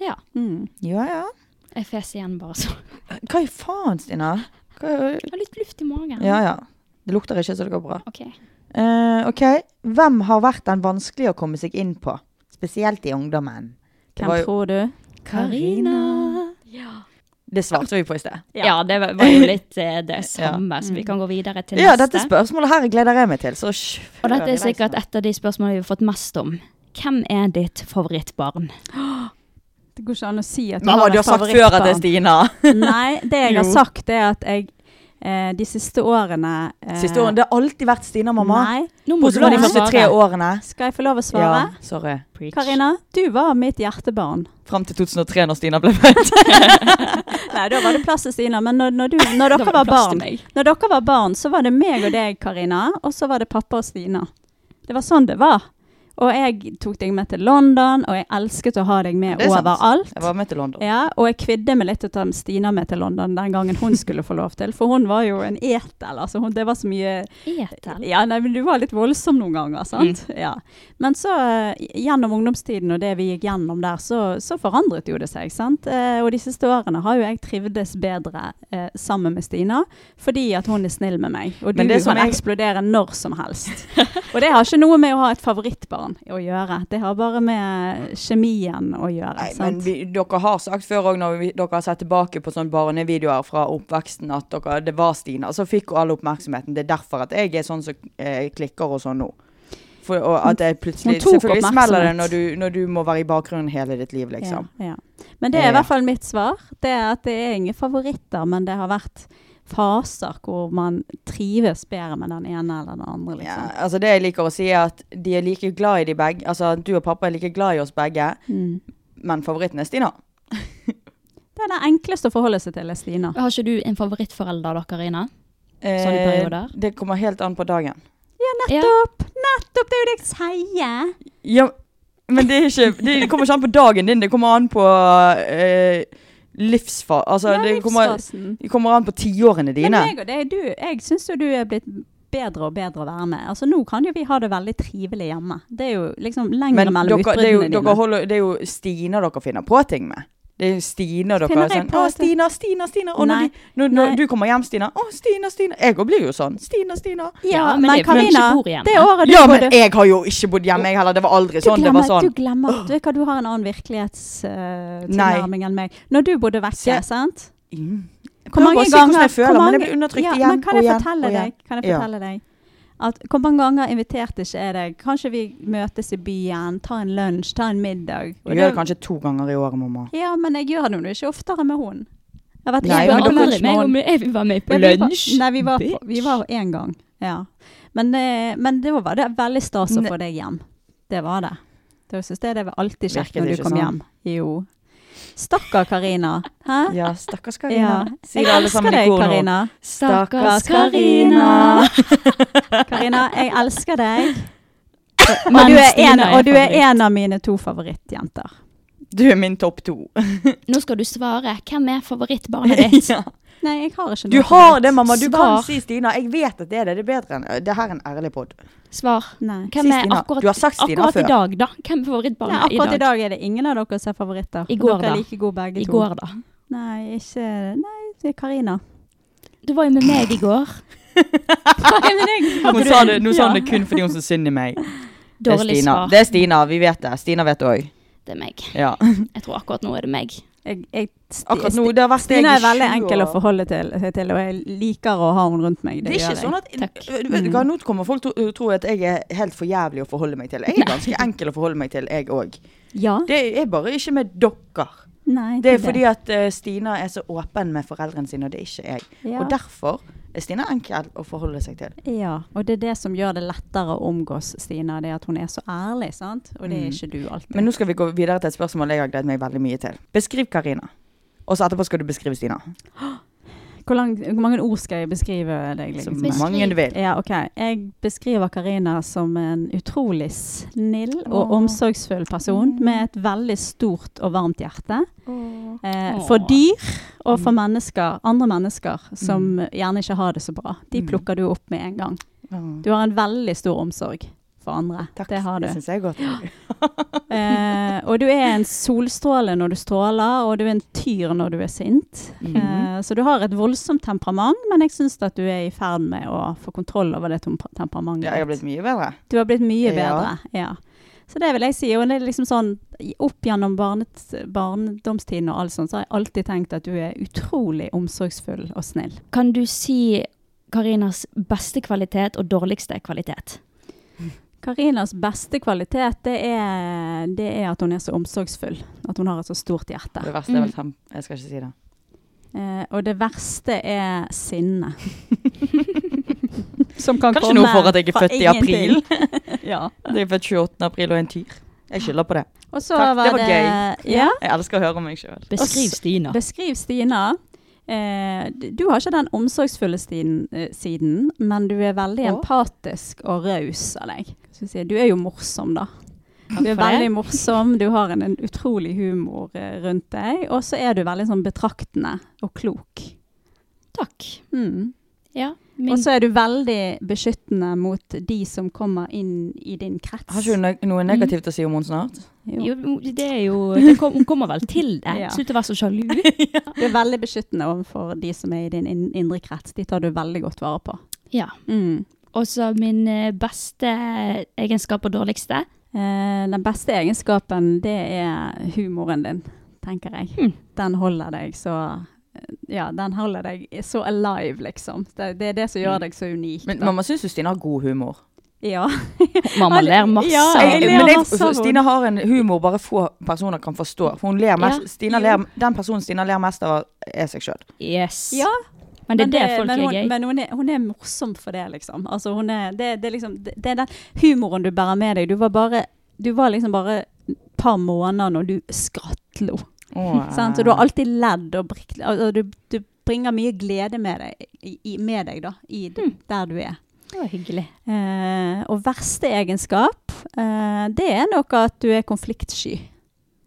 Ja. Mm. Ja, ja. Jeg fes igjen bare så. Hva i faen, Stina? Hva... Jeg har litt luft i magen. Ja, ja. Det lukter ikke, så det går bra. Ok. Eh, ok, Hvem har vært den vanskelige å komme seg inn på? Spesielt i ungdommen. Det Hvem var jo- tror du? Karina. Ja. Det svarte vi på i sted. Ja, det var var jo litt eh, det samme, så vi kan gå videre til Ja, dette neste. spørsmålet her gleder jeg meg til. Så Og dette er sikkert et av de spørsmålene vi har fått mest om. Hvem er ditt favorittbarn? Det går ikke an å si at Mamma, du et har sagt før at det er favorittbarn. Stina. Nei, det jeg har Jo. sagt er at jeg eh, de siste årene eh, Siste årene. Det har alltid vært Stina, mamma. Nei. Nå Bortsett fra de første tre årene. Skal jeg få lov å svare? Ja, sorry. Karina, du var mitt hjertebarn. Fram til 2003, når Stina ble født. Nei, da var det plass til Stina, men når, når, du, når Da dere var plass barn, til meg. når dere var barn, så var det meg og deg, Karina, og så var det pappa og Stina. Det var sånn det var. Og jeg tok deg med til London, og jeg elsket å ha deg med Det er sant. overalt. Jeg var med til London. Ja, og jeg kvidde meg litt til å ta Stina med til London den gangen hun skulle få lov til, for hun var jo en etel, altså hun, det var så mye Etel. Ja, nei, men du var litt voldsom noen ganger, sant? Mm. Ja. Men så eh, gjennom ungdomstiden og det vi gikk gjennom der, så, så forandret jo det seg, sant? Eh, og de siste årene har jo jeg trivdes bedre eh, sammen med Stina, fordi at hun er snill med meg. Og du Men det som kan jeg- eksplodere når som helst. og det har ikke noe med å ha et favorittbarn å gjøre. Det har bare med kjemien å gjøre, Nei, sant? men vi, dere har sagt før òg, når vi, dere har sett tilbake på sånne barnevideoer fra oppveksten, at dere, det var Stina. Så fikk jo alle oppmerksomheten. Det er derfor at jeg er sånn som eh, klikker og sånn nå. For, og at jeg plutselig Hun tok Selvfølgelig smeller det oppmerksomhet. når du, når du må være i bakgrunnen hele ditt liv, liksom. Ja, ja. Men det er Ja. i hvert fall mitt svar. Det er at det er ingen favoritter, men det har vært faser hvor man trives bedre med den ene eller den andre, liksom. Ja, altså det jeg liker å si er at de er like glad i de begge, altså at du og pappa er like glad i oss begge, Mm. men favoritten er Stina. Det er det enkleste å forholde seg til, er Stina. Eh, Har ikke du en favorittforelder da, Karina? Sånn i perioder? Eh, det kommer helt an på dagen. Ja, nettopp! Nettopp! Det er jo det jeg sier! Ja, men det, er ikke, det kommer ikke an på dagen din, det kommer an på eh, livsfa... Altså, Ja, det, kommer, livsfasen. det kommer an på tiårene Men dine. meg og deg, du, jeg syns jo du er blitt bedre og bedre å være med. Altså Nå kan jo vi ha det veldig trivelig hjemme. Det er jo liksom lenger Men mellom dere, det, er jo, utbruddene dere dine. holder, det er jo Stina dere finner på ting med. Det er jo Stina dere Finner er jeg sånn, på Å, ting? Stina, Stina, Stina. Og når, Nei, de, når, når nei. du kommer hjem, Stina. Å, Stina, Stina. Jeg òg blir jo sånn. Stina, Stina. Ja, Ja, men men det er fordi vi ikke Karina, bor hjemme. det året du Ja, bodde men jeg har jo ikke bodd hjemme, jeg heller. Det var aldri sånn. Det glemmer, var sånn. du glemmer Du vet hva, du har en annen virkelighetstilnærming enn meg. Når du bodde vekke, Se- sant? Mm. Jeg Hvor prøver mange å si hvordan ganger jeg føler, hvor men jeg mange- blir undertrykt ja, igjen men kan og jeg igjen fortelle og igjen. Deg, kan jeg Ja. fortelle deg at hvor mange ganger inviterte ikke jeg deg? Kanskje vi møtes i byen, ta en lunsj, ta en middag. Og Du gjør det kanskje to ganger i året, mamma. Ja, men jeg gjør det jo ikke oftere med hun. Jeg har vært Nei, en Jeg men gang på var dere- aldri lunsj med med hun. om jeg var med på Men vi var- lunsj. Nei, vi var, på, bitch. vi var en gang. Ja. Men, eh, men det var det veldig stas å Ne- få deg hjem. Det var det. Det synes jeg det var alltid kjekt Virker når det du ikke kom sånn? hjem. Jo. Stakkar Karina. Hæ? Ja, stakkars Ja. Karina. Si Jeg det alle elsker sammen i deg, kor nå. Karina. Stakkars Karina. Karina, jeg elsker deg. Og Men du er en, Stina og du er favoritt. en av mine to favorittjenter. Du er min topp to. Nå skal du svare. Hvem er favorittbarnet ditt? Ja. Nei, jeg har ikke Du noe har det, mamma. Du Svar. kan si Stina. Jeg vet at det er det. Det er bedre enn Det her er en ærlig pod. Svar. Nei. Hvem Si er Stina. akkurat, Du har sagt Stina akkurat i før. dag, da? Hvem er Nei, favorittbarnet akkurat i i dag? dag er det ingen av dere som er favoritter. I går, dere da. er like gode begge I to. går, da. Nei, ikke Nei, det er Karina. Du var jo med meg i går. Hun sa det, nå sa hun Ja. det kun fordi hun syntes synd i meg. Det er Dårlig Stina. svar. Det er Stina, vi vet det. Stina vet det òg. Det er meg. Ja. Jeg tror akkurat nå er det meg. Jeg, jeg, sti- Akkurat sti- nå, det har vært Stina jeg er i veldig 20 enkel å år. forholde til, seg til, og jeg liker å ha henne rundt meg. Det er ikke gjør jeg. sånn at Takk. Vet du hva, Nå kommer folk til å tro at jeg er helt for jævlig å forholde meg til. Jeg er ganske enkel å forholde meg til, jeg òg. Ja. Det er bare ikke med dere. Nei, Det er fordi at eh, Stina er så åpen med foreldrene sine, og det er ikke jeg. Ja. Og derfor er Stina enkel å forholde seg til. Ja, og det er det som gjør det lettere å omgås Stina, det er at hun er så ærlig, sant? Og det er ikke du alltid. Mm. Men nå skal vi gå videre til et spørsmål jeg har gledet meg veldig mye til. Beskriv Karina. Og så etterpå skal du beskrive Stina. Hvor, lang, hvor mange ord skal jeg beskrive deg? Så Liksom? Beskriv. mange du vil. Ja, ok. Jeg beskriver Karina som en utrolig snill og omsorgsfull person Mm. med et veldig stort og varmt hjerte. Eh, for Åh. dyr og for mennesker, andre mennesker som gjerne ikke har det så bra. De Mm. plukker du opp med en gang. Åh, Du har en veldig stor omsorg for andre. Mm. Takk, Det har du. det syns jeg er godt. Eh, og du er en solstråle når du stråler, og du er en tyr når du er sint. Mhm. Mm. eh, så du har et voldsomt temperament, men jeg syns at du er i ferd med å få kontroll over det temp- temperamentet. Ja, jeg har blitt mye bedre. Du har blitt mye Ja. bedre. Ja. Så det vil jeg si. Og det er liksom sånn, opp gjennom barnet, barndomstiden og alt sånt, så har jeg alltid tenkt at du er utrolig omsorgsfull og snill. Kan du si Karinas beste kvalitet og dårligste kvalitet? Karinas beste kvalitet det er, det er at hun er så omsorgsfull. At hun har et så stort hjerte. Det verste er Mm. vel fem Jeg skal ikke si det. Eh, og det verste er sinne. Som kan Kanskje komme noe for at jeg er fra født i april. ingenting. ja. Jeg er født 28. april og en tyr. Jeg skylder på det. Og så Takk, det var var det- Ja. Jeg elsker å høre meg sjøl. Beskriv Stina. Beskriv Stina. Eh, d- du har ikke den omsorgsfulle stien, eh, siden, men du er veldig Å. empatisk og raus av deg. Hva skal jeg Si, du er jo morsom, da. Du er for det. veldig morsom, du har en, en utrolig humor eh, rundt deg, og så er du veldig sånn betraktende og klok. Takk. Mm. Ja, Og min så er du veldig beskyttende mot de som kommer inn i din krets. Har ikke hun ne- Mm. noe negativt å si om henne snart? Jo. jo, det er jo det kom, Hun kommer vel til det. Ja. Slutt å være så sjalu. Du er veldig beskyttende overfor de som er i din in- indre krets. De tar du veldig godt vare på. Ja. Mm. Og så min eh, beste egenskap og dårligste. Eh, den beste egenskapen, det er humoren din, tenker jeg. Mm. Den holder deg så eh, ja, den holder deg så alive, liksom. Det, det er det som Mm. gjør deg så unik. Men da. mamma syns jo Stina har god humor. ja. Mamma ler masse. Ja, av jeg det. ler men masse av jeg, henne. Stina har en humor bare få personer kan forstå. For hun ler mest. Ja. Stina Jo. ler, den personen Stina ler mest av, er seg sjøl. Yes. Ja, Men det er det, folk men hun, er gøy. Men hun er, hun er morsom for det, liksom. Altså, hun er, det, det, er liksom det, det er den humoren du bærer med deg. Du var, bare, du var liksom bare et par måneder når du skrattlo. sant? Så du har alltid ledd og brikt, altså, du, du bringer mye glede med deg, i, i, med deg da, i d- Mm. der du er. Det var hyggelig. Eh, og verste egenskap, eh, det er nok at du er konfliktsky.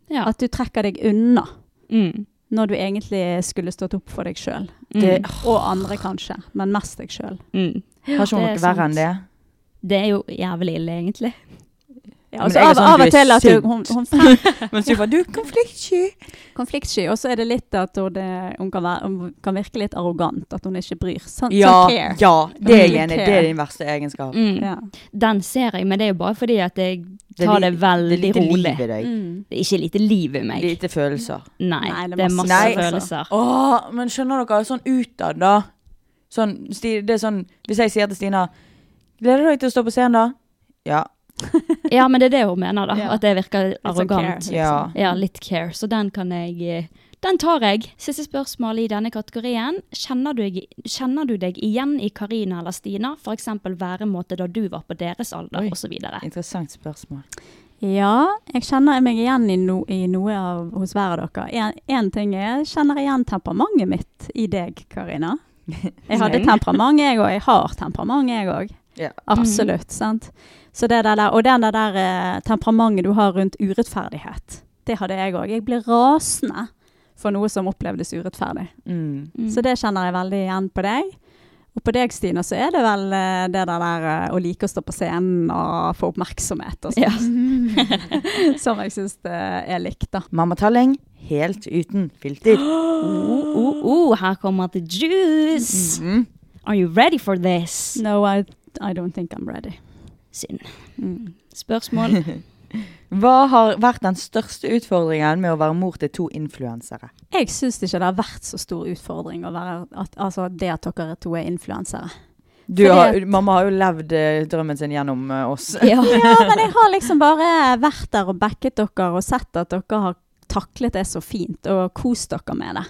Ja. At du trekker deg unna Mm. når du egentlig skulle stått opp for deg sjøl. Det- Og andre, kanskje, men mest deg sjøl. Mm. Har ikke hun Det er noe verre sant. enn det? Det er jo jævlig ille, egentlig. Ja, Men altså, jeg er av, sånn, av du og er til at sint. hun, hun, hun frem, Men så var du konfliktsky. konfliktsky, og så er det litt at hun, det, hun, kan være, hun kan virke litt arrogant, at hun ikke bryr. Sånn, Ja, sånn care. ja, det er Mm. jeg enig i. Det er din verste egenskap. Mm. Ja. Den ser jeg, men det er jo bare fordi at jeg er tar li- det veldig lite liv rolig. i deg. Det er ikke lite liv i meg. Lite følelser. Nei, altså. Nei, det er det er masse masse Nei. følelser. Åh, men skjønner dere, sånn utad da sånn, Sti, det er sånn, Hvis jeg sier til Stina 'Gleder du deg til å stå på scenen, da?' Ja. Ja, men det er det hun mener, da. Ja. At det virker sånn arrogant. care, ja. Ja, litt care. Så den kan jeg eh, Den tar jeg. Siste spørsmål i denne kategorien. Kjenner du, kjenner du deg igjen i Karina eller Stina? F.eks. væremåte da du var på deres alder, Oi. osv. Interessant spørsmål. Ja, jeg kjenner meg igjen i, no, i noe av, hos hver av dere. Én ting er jeg kjenner igjen temperamentet mitt i deg, Karina. Jeg hadde temperament, jeg òg. Jeg har temperament, jeg òg. Ja. Absolutt. sant? Så det der, og den der, der eh, temperamentet du har rundt urettferdighet, det hadde jeg òg. Jeg ble rasende for noe som opplevdes urettferdig. Mm. Så det kjenner jeg veldig igjen på deg. Og på deg, Stina, så er det vel eh, det der, der eh, å like å stå på scenen og få oppmerksomhet og sånn. som jeg syns er likt, da. Mamma Talling, helt uten filter. Ooh, ooh, ooh, Oh, her kommer the juice. Mm. Mm. Are you ready for this? No, I, I don't think I'm ready. Synd. Mm. Spørsmål? Hva har vært den største utfordringen med å være mor til to influensere? Jeg syns ikke det har vært så stor utfordring å være at, altså det at dere to er influensere. Du Fordi har, at- mamma har jo levd eh, drømmen sin gjennom eh, oss. Ja. Ja, men jeg har liksom bare vært der og backet dere og sett at dere har taklet det så fint og kost dere med det.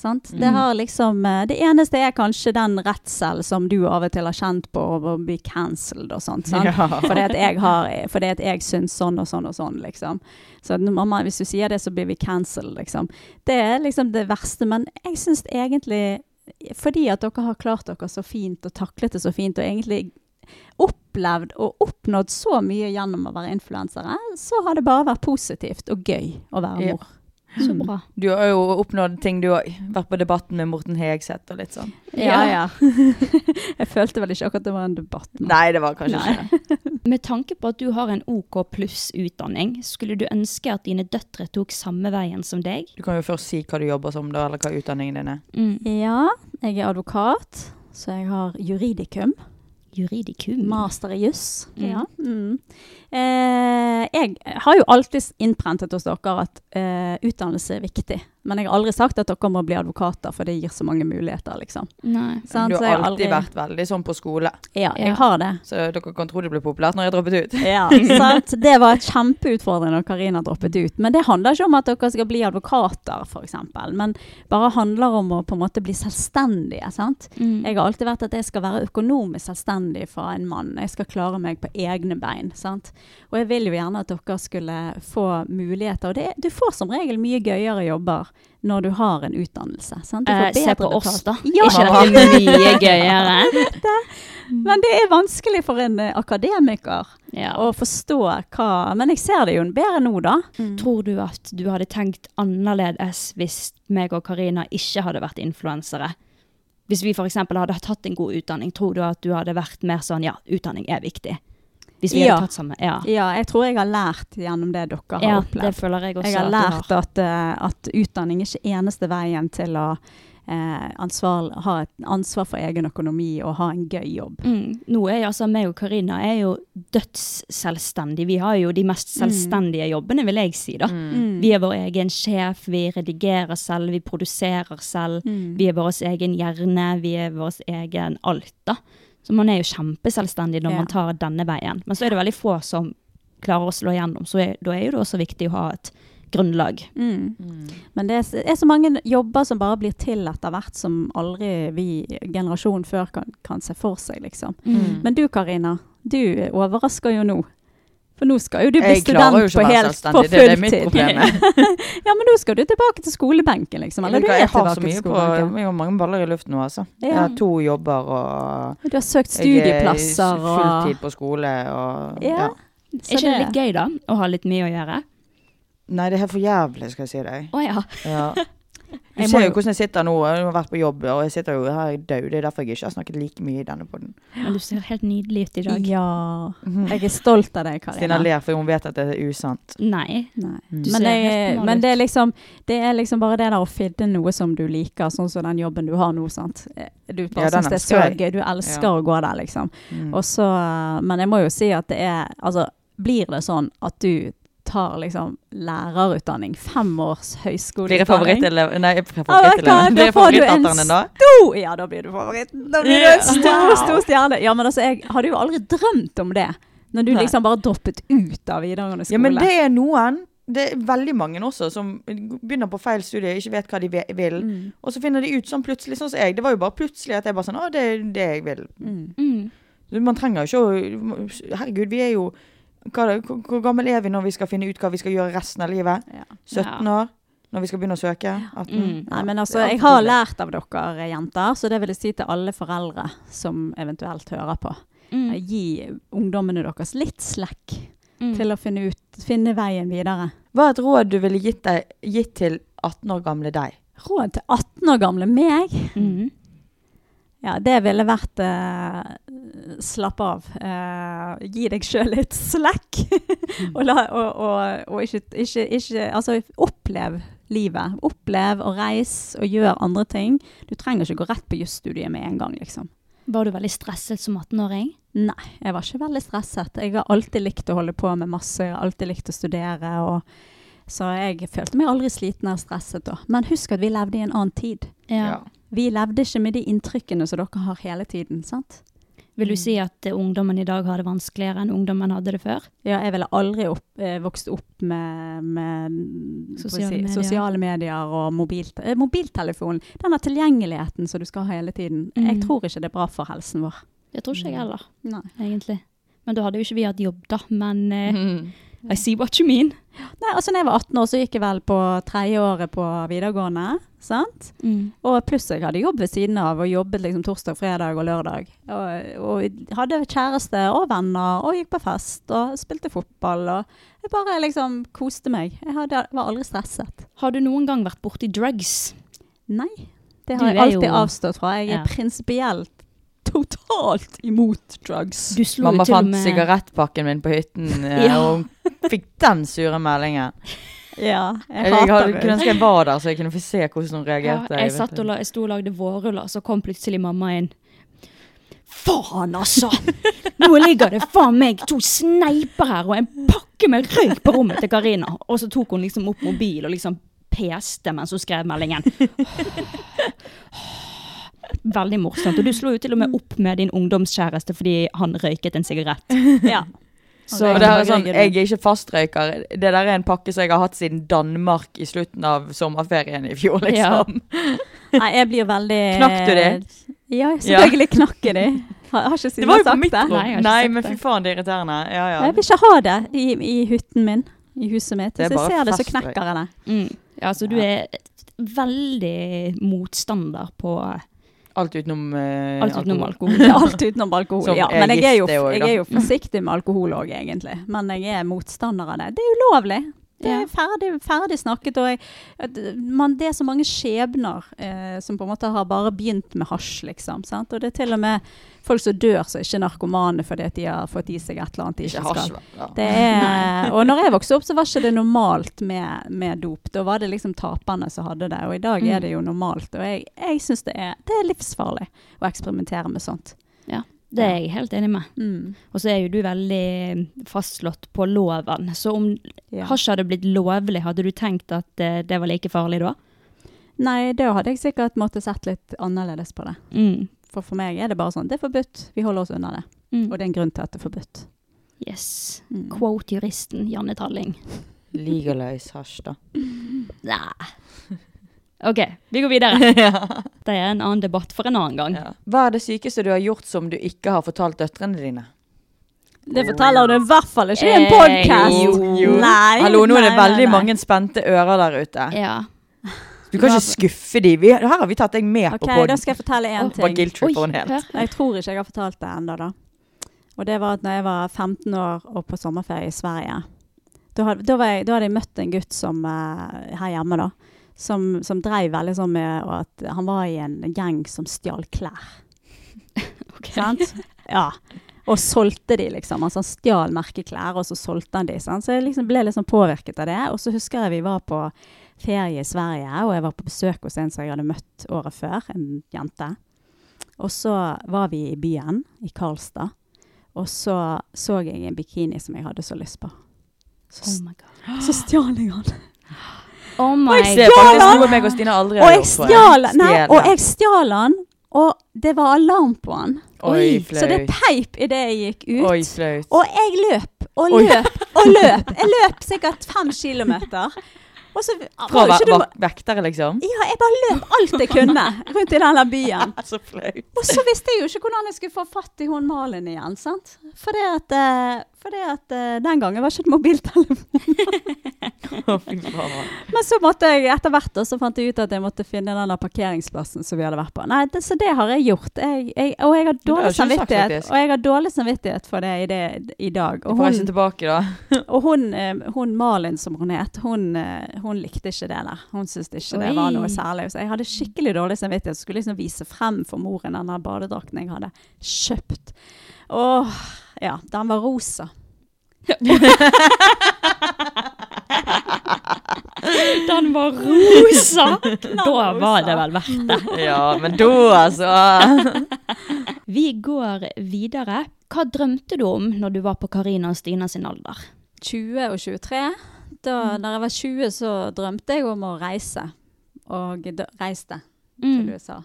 Sant? Det, har liksom, eh, det eneste er kanskje den redsel som du av og til har kjent på av å bli cancelled og sånt. Sant? Fordi, at jeg har, fordi at jeg syns sånn og sånn og sånn, liksom. Så at, mamma, hvis du sier det, så blir vi cancelled, liksom. Det er liksom det verste, men jeg syns egentlig Fordi at dere har klart dere så fint og taklet det så fint og egentlig opplevd og oppnådd så mye gjennom å være influensere, så har det bare vært positivt og gøy å være Ja. mor. Så bra. Du har jo oppnådd ting, du òg. Vært på Debatten med Morten Hegseth og litt sånn. Ja, ja. jeg følte vel ikke akkurat det var en debatt. nå. Nei, det var kanskje Mm. Nei. ikke det. Med tanke på at du har en OK pluss utdanning, skulle du ønske at dine døtre tok samme veien som deg? Mm. Du kan jo først si hva du jobber som, da, eller hva utdanningen din er. Ja, jeg er advokat, så jeg har juridikum. Mm. Juridikum. Master i juss. Ja. Mm. Eh, jeg har jo alltid innprentet hos dere at eh, utdannelse er viktig. Men jeg har aldri sagt at dere må bli advokater, for det gir så mange muligheter, liksom. Nei. Sant? du Så har jeg alltid vært veldig sånn på skole, Ja, Ja. jeg har det. så dere kan tro det ble populært når jeg droppet ut. Ja, sant? Det var et kjempeutfordring når Karina droppet ut. Men det handler ikke om at dere skal bli advokater, f.eks., men bare handler om å på en måte bli selvstendige. sant? Mm. Jeg har alltid vært at jeg skal være økonomisk selvstendig fra en mann. Jeg skal klare meg på egne bein. sant? Og jeg vil jo gjerne at dere skulle få muligheter. Og det, du får som regel mye gøyere jobber når du har en utdannelse. sant? Du får Eh, se bedre på betalt. oss, da. Ja, Er ikke dette mye gøyere? men det er vanskelig for en eh, akademiker Ja. å forstå hva Men jeg ser det jo bedre nå, da. Tror du at du hadde tenkt annerledes hvis meg og Karina ikke hadde vært influensere? Hvis vi f.eks. hadde tatt en god utdanning, tror du at du hadde vært mer sånn ja, utdanning er viktig? Hvis vi Ja. hadde tatt samme Ja. Ja, jeg tror jeg har lært gjennom det dere har ja, det opplevd. føler jeg også. Jeg har at du lært at, eh, at utdanning er ikke eneste veien til å eh, ansvar, ha et ansvar for egen økonomi og ha en gøy jobb. Mm. Nå er jo altså meg og Karina er jo dødsselvstendige. Vi har jo de mest selvstendige jobbene, vil jeg si, da. Mm. Mm. Vi er vår egen sjef, vi redigerer selv, vi produserer selv. Mm. Vi er vår egen hjerne, vi er vår egen alt, da. Så man er jo kjempeselvstendig når Ja. man tar denne veien. Men så er det veldig få som klarer å slå igjennom, så er, da er jo det også viktig å ha et grunnlag. Mm. Mm. Men det er, s- er så mange jobber som bare blir til etter hvert, som aldri vi generasjonen før kan, kan se for seg, liksom. Mm. Men du Karina, du overrasker jo nå. For nå skal jo du bli Jeg klarer student jo ikke på, å være helt, på selvstendig, det, det er mitt fulltid. problem. Ja, men nå skal du tilbake til skolebenken, liksom. Eller Jeg, du er jeg har tilbake så til mye på skolebenken. Jeg har mange baller i luften nå, altså. Jeg Ja. har to jobber og Du har søkt jeg studieplasser er og fulltid på skole og Ja. Er ikke det litt gøy, da? Å ha litt mye å gjøre? Nei, det er helt for jævlig, skal jeg si deg. Å ja. Ja. Du Jeg må ser jo jo- hvordan jeg sitter nå. Jeg har vært på jobb, og jeg sitter jo her død. Det er derfor jeg ikke har snakket like mye i denne podden. Men du ser helt nydelig ut i dag. Ja. Jeg er stolt av deg, Stina Karina. ler, for hun vet at det er usant. Mm. Nei. Nei. Du Men, ser det, helt normal men ut. det, er liksom, det er liksom bare det der å finne noe som du liker, sånn som den jobben du har nå. sant? Du bare Ja, den syns det er så elsker gøy. jeg. Du elsker Ja. å gå der, liksom. Mm. Og så, men jeg må jo si at det er Altså, blir det sånn at du tar liksom lærerutdanning, fem års Blir høyskoleutdanning jeg favorittelev... Nei, jeg er Ah, vet du hva? favoritteleven. Blir Da jeg får du en favorittatteren din da? stor Oh, Ja, da blir du favoritten. Da blir du en stor, Wow. stor stjerne. Ja, men altså, jeg hadde jo aldri drømt om det. Når du Nei. liksom bare droppet ut av videregående skole. Ja, men det er noen. Det er veldig mange også som begynner på feil studie, ikke vet hva de ve- vil. Mm. Og så finner de ut sånn plutselig, sånn som jeg. Det var jo bare plutselig at jeg bare sånn Å, det er det jeg vil. mm. Mm. Man trenger jo ikke å Herregud, vi er jo hva, da, hvor, hvor gammel er vi når vi skal finne ut hva vi skal gjøre resten av livet? Ja. 17 år? Når vi skal begynne å søke? 18? Nei, men altså, Det er jeg altfor har tidlig. lært av dere eh, jenter, så det vil jeg si til alle foreldre som eventuelt hører på. Mm. Mm. Gi ungdommene deres litt slekk til å finne, ut, finne veien videre. Hva er et råd du ville gitt, deg, gitt til 18 år gamle deg? Råd til 18 år gamle meg? Mhm. Ja, det ville vært eh, Slapp av. eh, gi deg sjøl litt slekk. og, la, og, og, og ikke, ikke, ikke Altså, opplev livet. Opplev og reis og gjør andre ting. Du trenger ikke gå rett på jusstudiet med en gang, liksom. Var du veldig stresset som 18-åring? Nei, jeg var ikke veldig stresset. Jeg har alltid likt å holde på med masse, jeg har alltid likt å studere. Og, så jeg følte meg aldri sliten eller stresset da. Men husk at vi levde i en annen tid. Ja. Vi levde ikke med de inntrykkene som dere har hele tiden, sant? Vil du si at eh, ungdommen i dag har det vanskeligere enn ungdommen hadde det før? Ja, jeg ville aldri opp, eh, vokst opp med, med Sosiale hva skal jeg medier. sosiale medier og mobilt, eh, mobiltelefonen. Denne tilgjengeligheten som du skal ha hele tiden. Jeg Mm. tror ikke det er bra for helsen vår. Det tror ikke jeg heller, Nei. Mm. egentlig. Men da hadde jo ikke vi hatt jobb, da. Men eh, Mm. I see what you mean. Nei, altså når jeg var 18 år, så gikk jeg vel på tredje året på videregående. sant? Mm. Og pluss jeg hadde jobb ved siden av, og jobbet liksom torsdag, fredag og lørdag. Og, og hadde kjæreste og venner, og gikk på fest og spilte fotball. Og jeg bare liksom koste meg. Jeg hadde, var aldri stresset. Har du noen gang vært borti drugs? Nei, det Du har jeg er jo- alltid avstått fra. Jeg er Ja. prinsipielt totalt imot drugs. Du slo Mamma jo til og fant med sigarettpakken min på hytten, eh, Ja. og hun fikk den sure meldingen. Ja, jeg, Jeg, hater hadde, kunne det. ønske jeg var der, så jeg kunne få se hvordan hun Ja, reagerte. jeg, vet satt du. og la, jeg sto og lagde vårruller, så kom plutselig mamma inn. Faen, altså! Nå ligger det faen meg to sneiper her og en pakke med røyk på rommet til Karina. Og så tok hun liksom opp mobil og liksom peste mens hun skrev meldingen. Veldig morsomt. Og du slo jo til og med opp med din ungdomskjæreste fordi han røyket en sigarett. Ja. og det her er sånn, reagerer du. jeg er ikke fastrøyker. Det der er en pakke som jeg har hatt siden Danmark i slutten av sommerferien i fjor, Ja. liksom. Nei, jeg blir veldig Knakk du det? Ja, selvfølgelig knakk jeg det. Har, har ikke Det siden var jeg jo på sagt mitt det. rom. Nei, jeg har ikke Nei, sagt men det. fy faen, det er irriterende. Ja, ja. Jeg vil ikke ha det i, i hytten min, i huset mitt. Det Hvis er jeg bare ser det, så fast røyk. knekker jeg det. Mm. Ja, så du er veldig motstander på Alt utenom eh, alt utenom alkohol. alkohol. Det er alt utenom alkohol. Som ja. er Men jeg er, jo, gift, det også, jeg da. er jo forsiktig med alkohol òg, egentlig. Men jeg er motstander av det. Det er ulovlig. Det Ja. er ferdig, ferdig snakket. Og jeg, at man, det er så mange skjebner eh, som på en måte har bare begynt med hasj, liksom. Sant? Og det er til og med folk som dør som ikke er narkomane fordi at de har fått i seg et eller annet de Ikke ikke hasj, skal. vel. Ja. Det er, og når jeg vokste opp, så var ikke det normalt med, med dop. Da var det liksom taperne som hadde det, og i dag Mm. er det jo normalt. Og jeg, jeg syns det, er- det er livsfarlig å eksperimentere med sånt. Ja, det er jeg helt enig med. Mm. Og så er jo du veldig eh, fastslått på loven. Så om Ja. hasj hadde blitt lovlig, hadde du tenkt at eh, det var like farlig da? Nei, da hadde jeg sikkert måttet sett litt annerledes på det. Mm. For for meg er det bare sånn, det er forbudt, vi holder oss unna det. Mm. Og det er en grunn til at det er forbudt. Yes. Mm. Quote juristen Janne Talling. Legalize hasj, da. Nei. OK, vi går videre. Det er en annen debatt for en annen gang. Ja. Hva er det sykeste du har gjort som du ikke har fortalt døtrene dine? Det forteller du i hvert fall ikke i en Eh, podkast! jo, Oh, Nei, Hallo, nå er det nei, veldig nei, nei. mange spente ører der ute. Ja. Du kan ikke skuffe dem. Vi, her har vi tatt deg med Ok, på podden. da skal jeg fortelle én Bare ting. guilt tripper hun helt. hør. Nei, Jeg tror ikke jeg har fortalt det ennå, da. Og det var at når jeg var 15 år og på sommerferie i Sverige, da hadde, da var jeg, da hadde jeg møtt en gutt som, eh, her hjemme, da, som, som dreiv veldig sånn med at han var i en gjeng som stjal klær. Ok. Sant? Ja. Og solgte de, liksom. Altså, han stjal merkeklær, og så solgte han de. Sant? Så jeg liksom ble litt sånn påvirket av det. Og så husker jeg vi var på ferie i Sverige, og jeg var på besøk hos en som jeg hadde møtt året før, en jente. Og så var vi i byen, i Karlstad, og så så jeg en bikini som jeg hadde så lyst på. Oh Så, my god. så stjal jeg den. Oh Og my jeg ser god. faktisk noe meg og Stine aldri Og har jeg gjort. tror stjal den! Nei, Stjele. og jeg stjal den, og det var alarm på den. Oi, Så det flaut. peip idet jeg gikk ut. Oi, flaut. Og jeg løp og Oi. løp og løp. Jeg løp sikkert fem kilometer. Og så Fra var jo ikke ve- du vak- vektere, liksom? Ja, jeg bare løp alt jeg kunne rundt i denne byen. Så flaut. Og så visste jeg jo ikke hvordan jeg skulle få fatt i hun Malin igjen, sant. For det at, eh, for det at eh, den gangen var ikke det mobiltelefon. Å, fy faen. Men så måtte jeg etter hvert da, så fant jeg ut at jeg måtte finne den der parkeringsplassen som vi hadde vært på. Nei, det, Så det har jeg gjort. Jeg, jeg, og jeg har har dårlig ikke du sagt, samvittighet. faktisk. Og jeg har dårlig samvittighet for det i, det, i dag. Jeg Og får hun, ikke tilbake, da. Og hun, eh, hun Malin, som hun het, hun, eh, hun likte ikke det der. Hun syntes ikke det var Oi. noe særlig. Så jeg hadde skikkelig dårlig samvittighet. Skulle liksom vise frem for moren den der badedrakten jeg hadde kjøpt. Åh, ja. Den var rosa. Den den var rosa, da var det vel verdt det. Ja, men da, altså. Vi går videre. Hva drømte du om når du var på Karina og Stina sin alder? 20 og 23. Da Mm. når jeg var 20, så drømte jeg om å reise. Og d reiste til Mm. USA.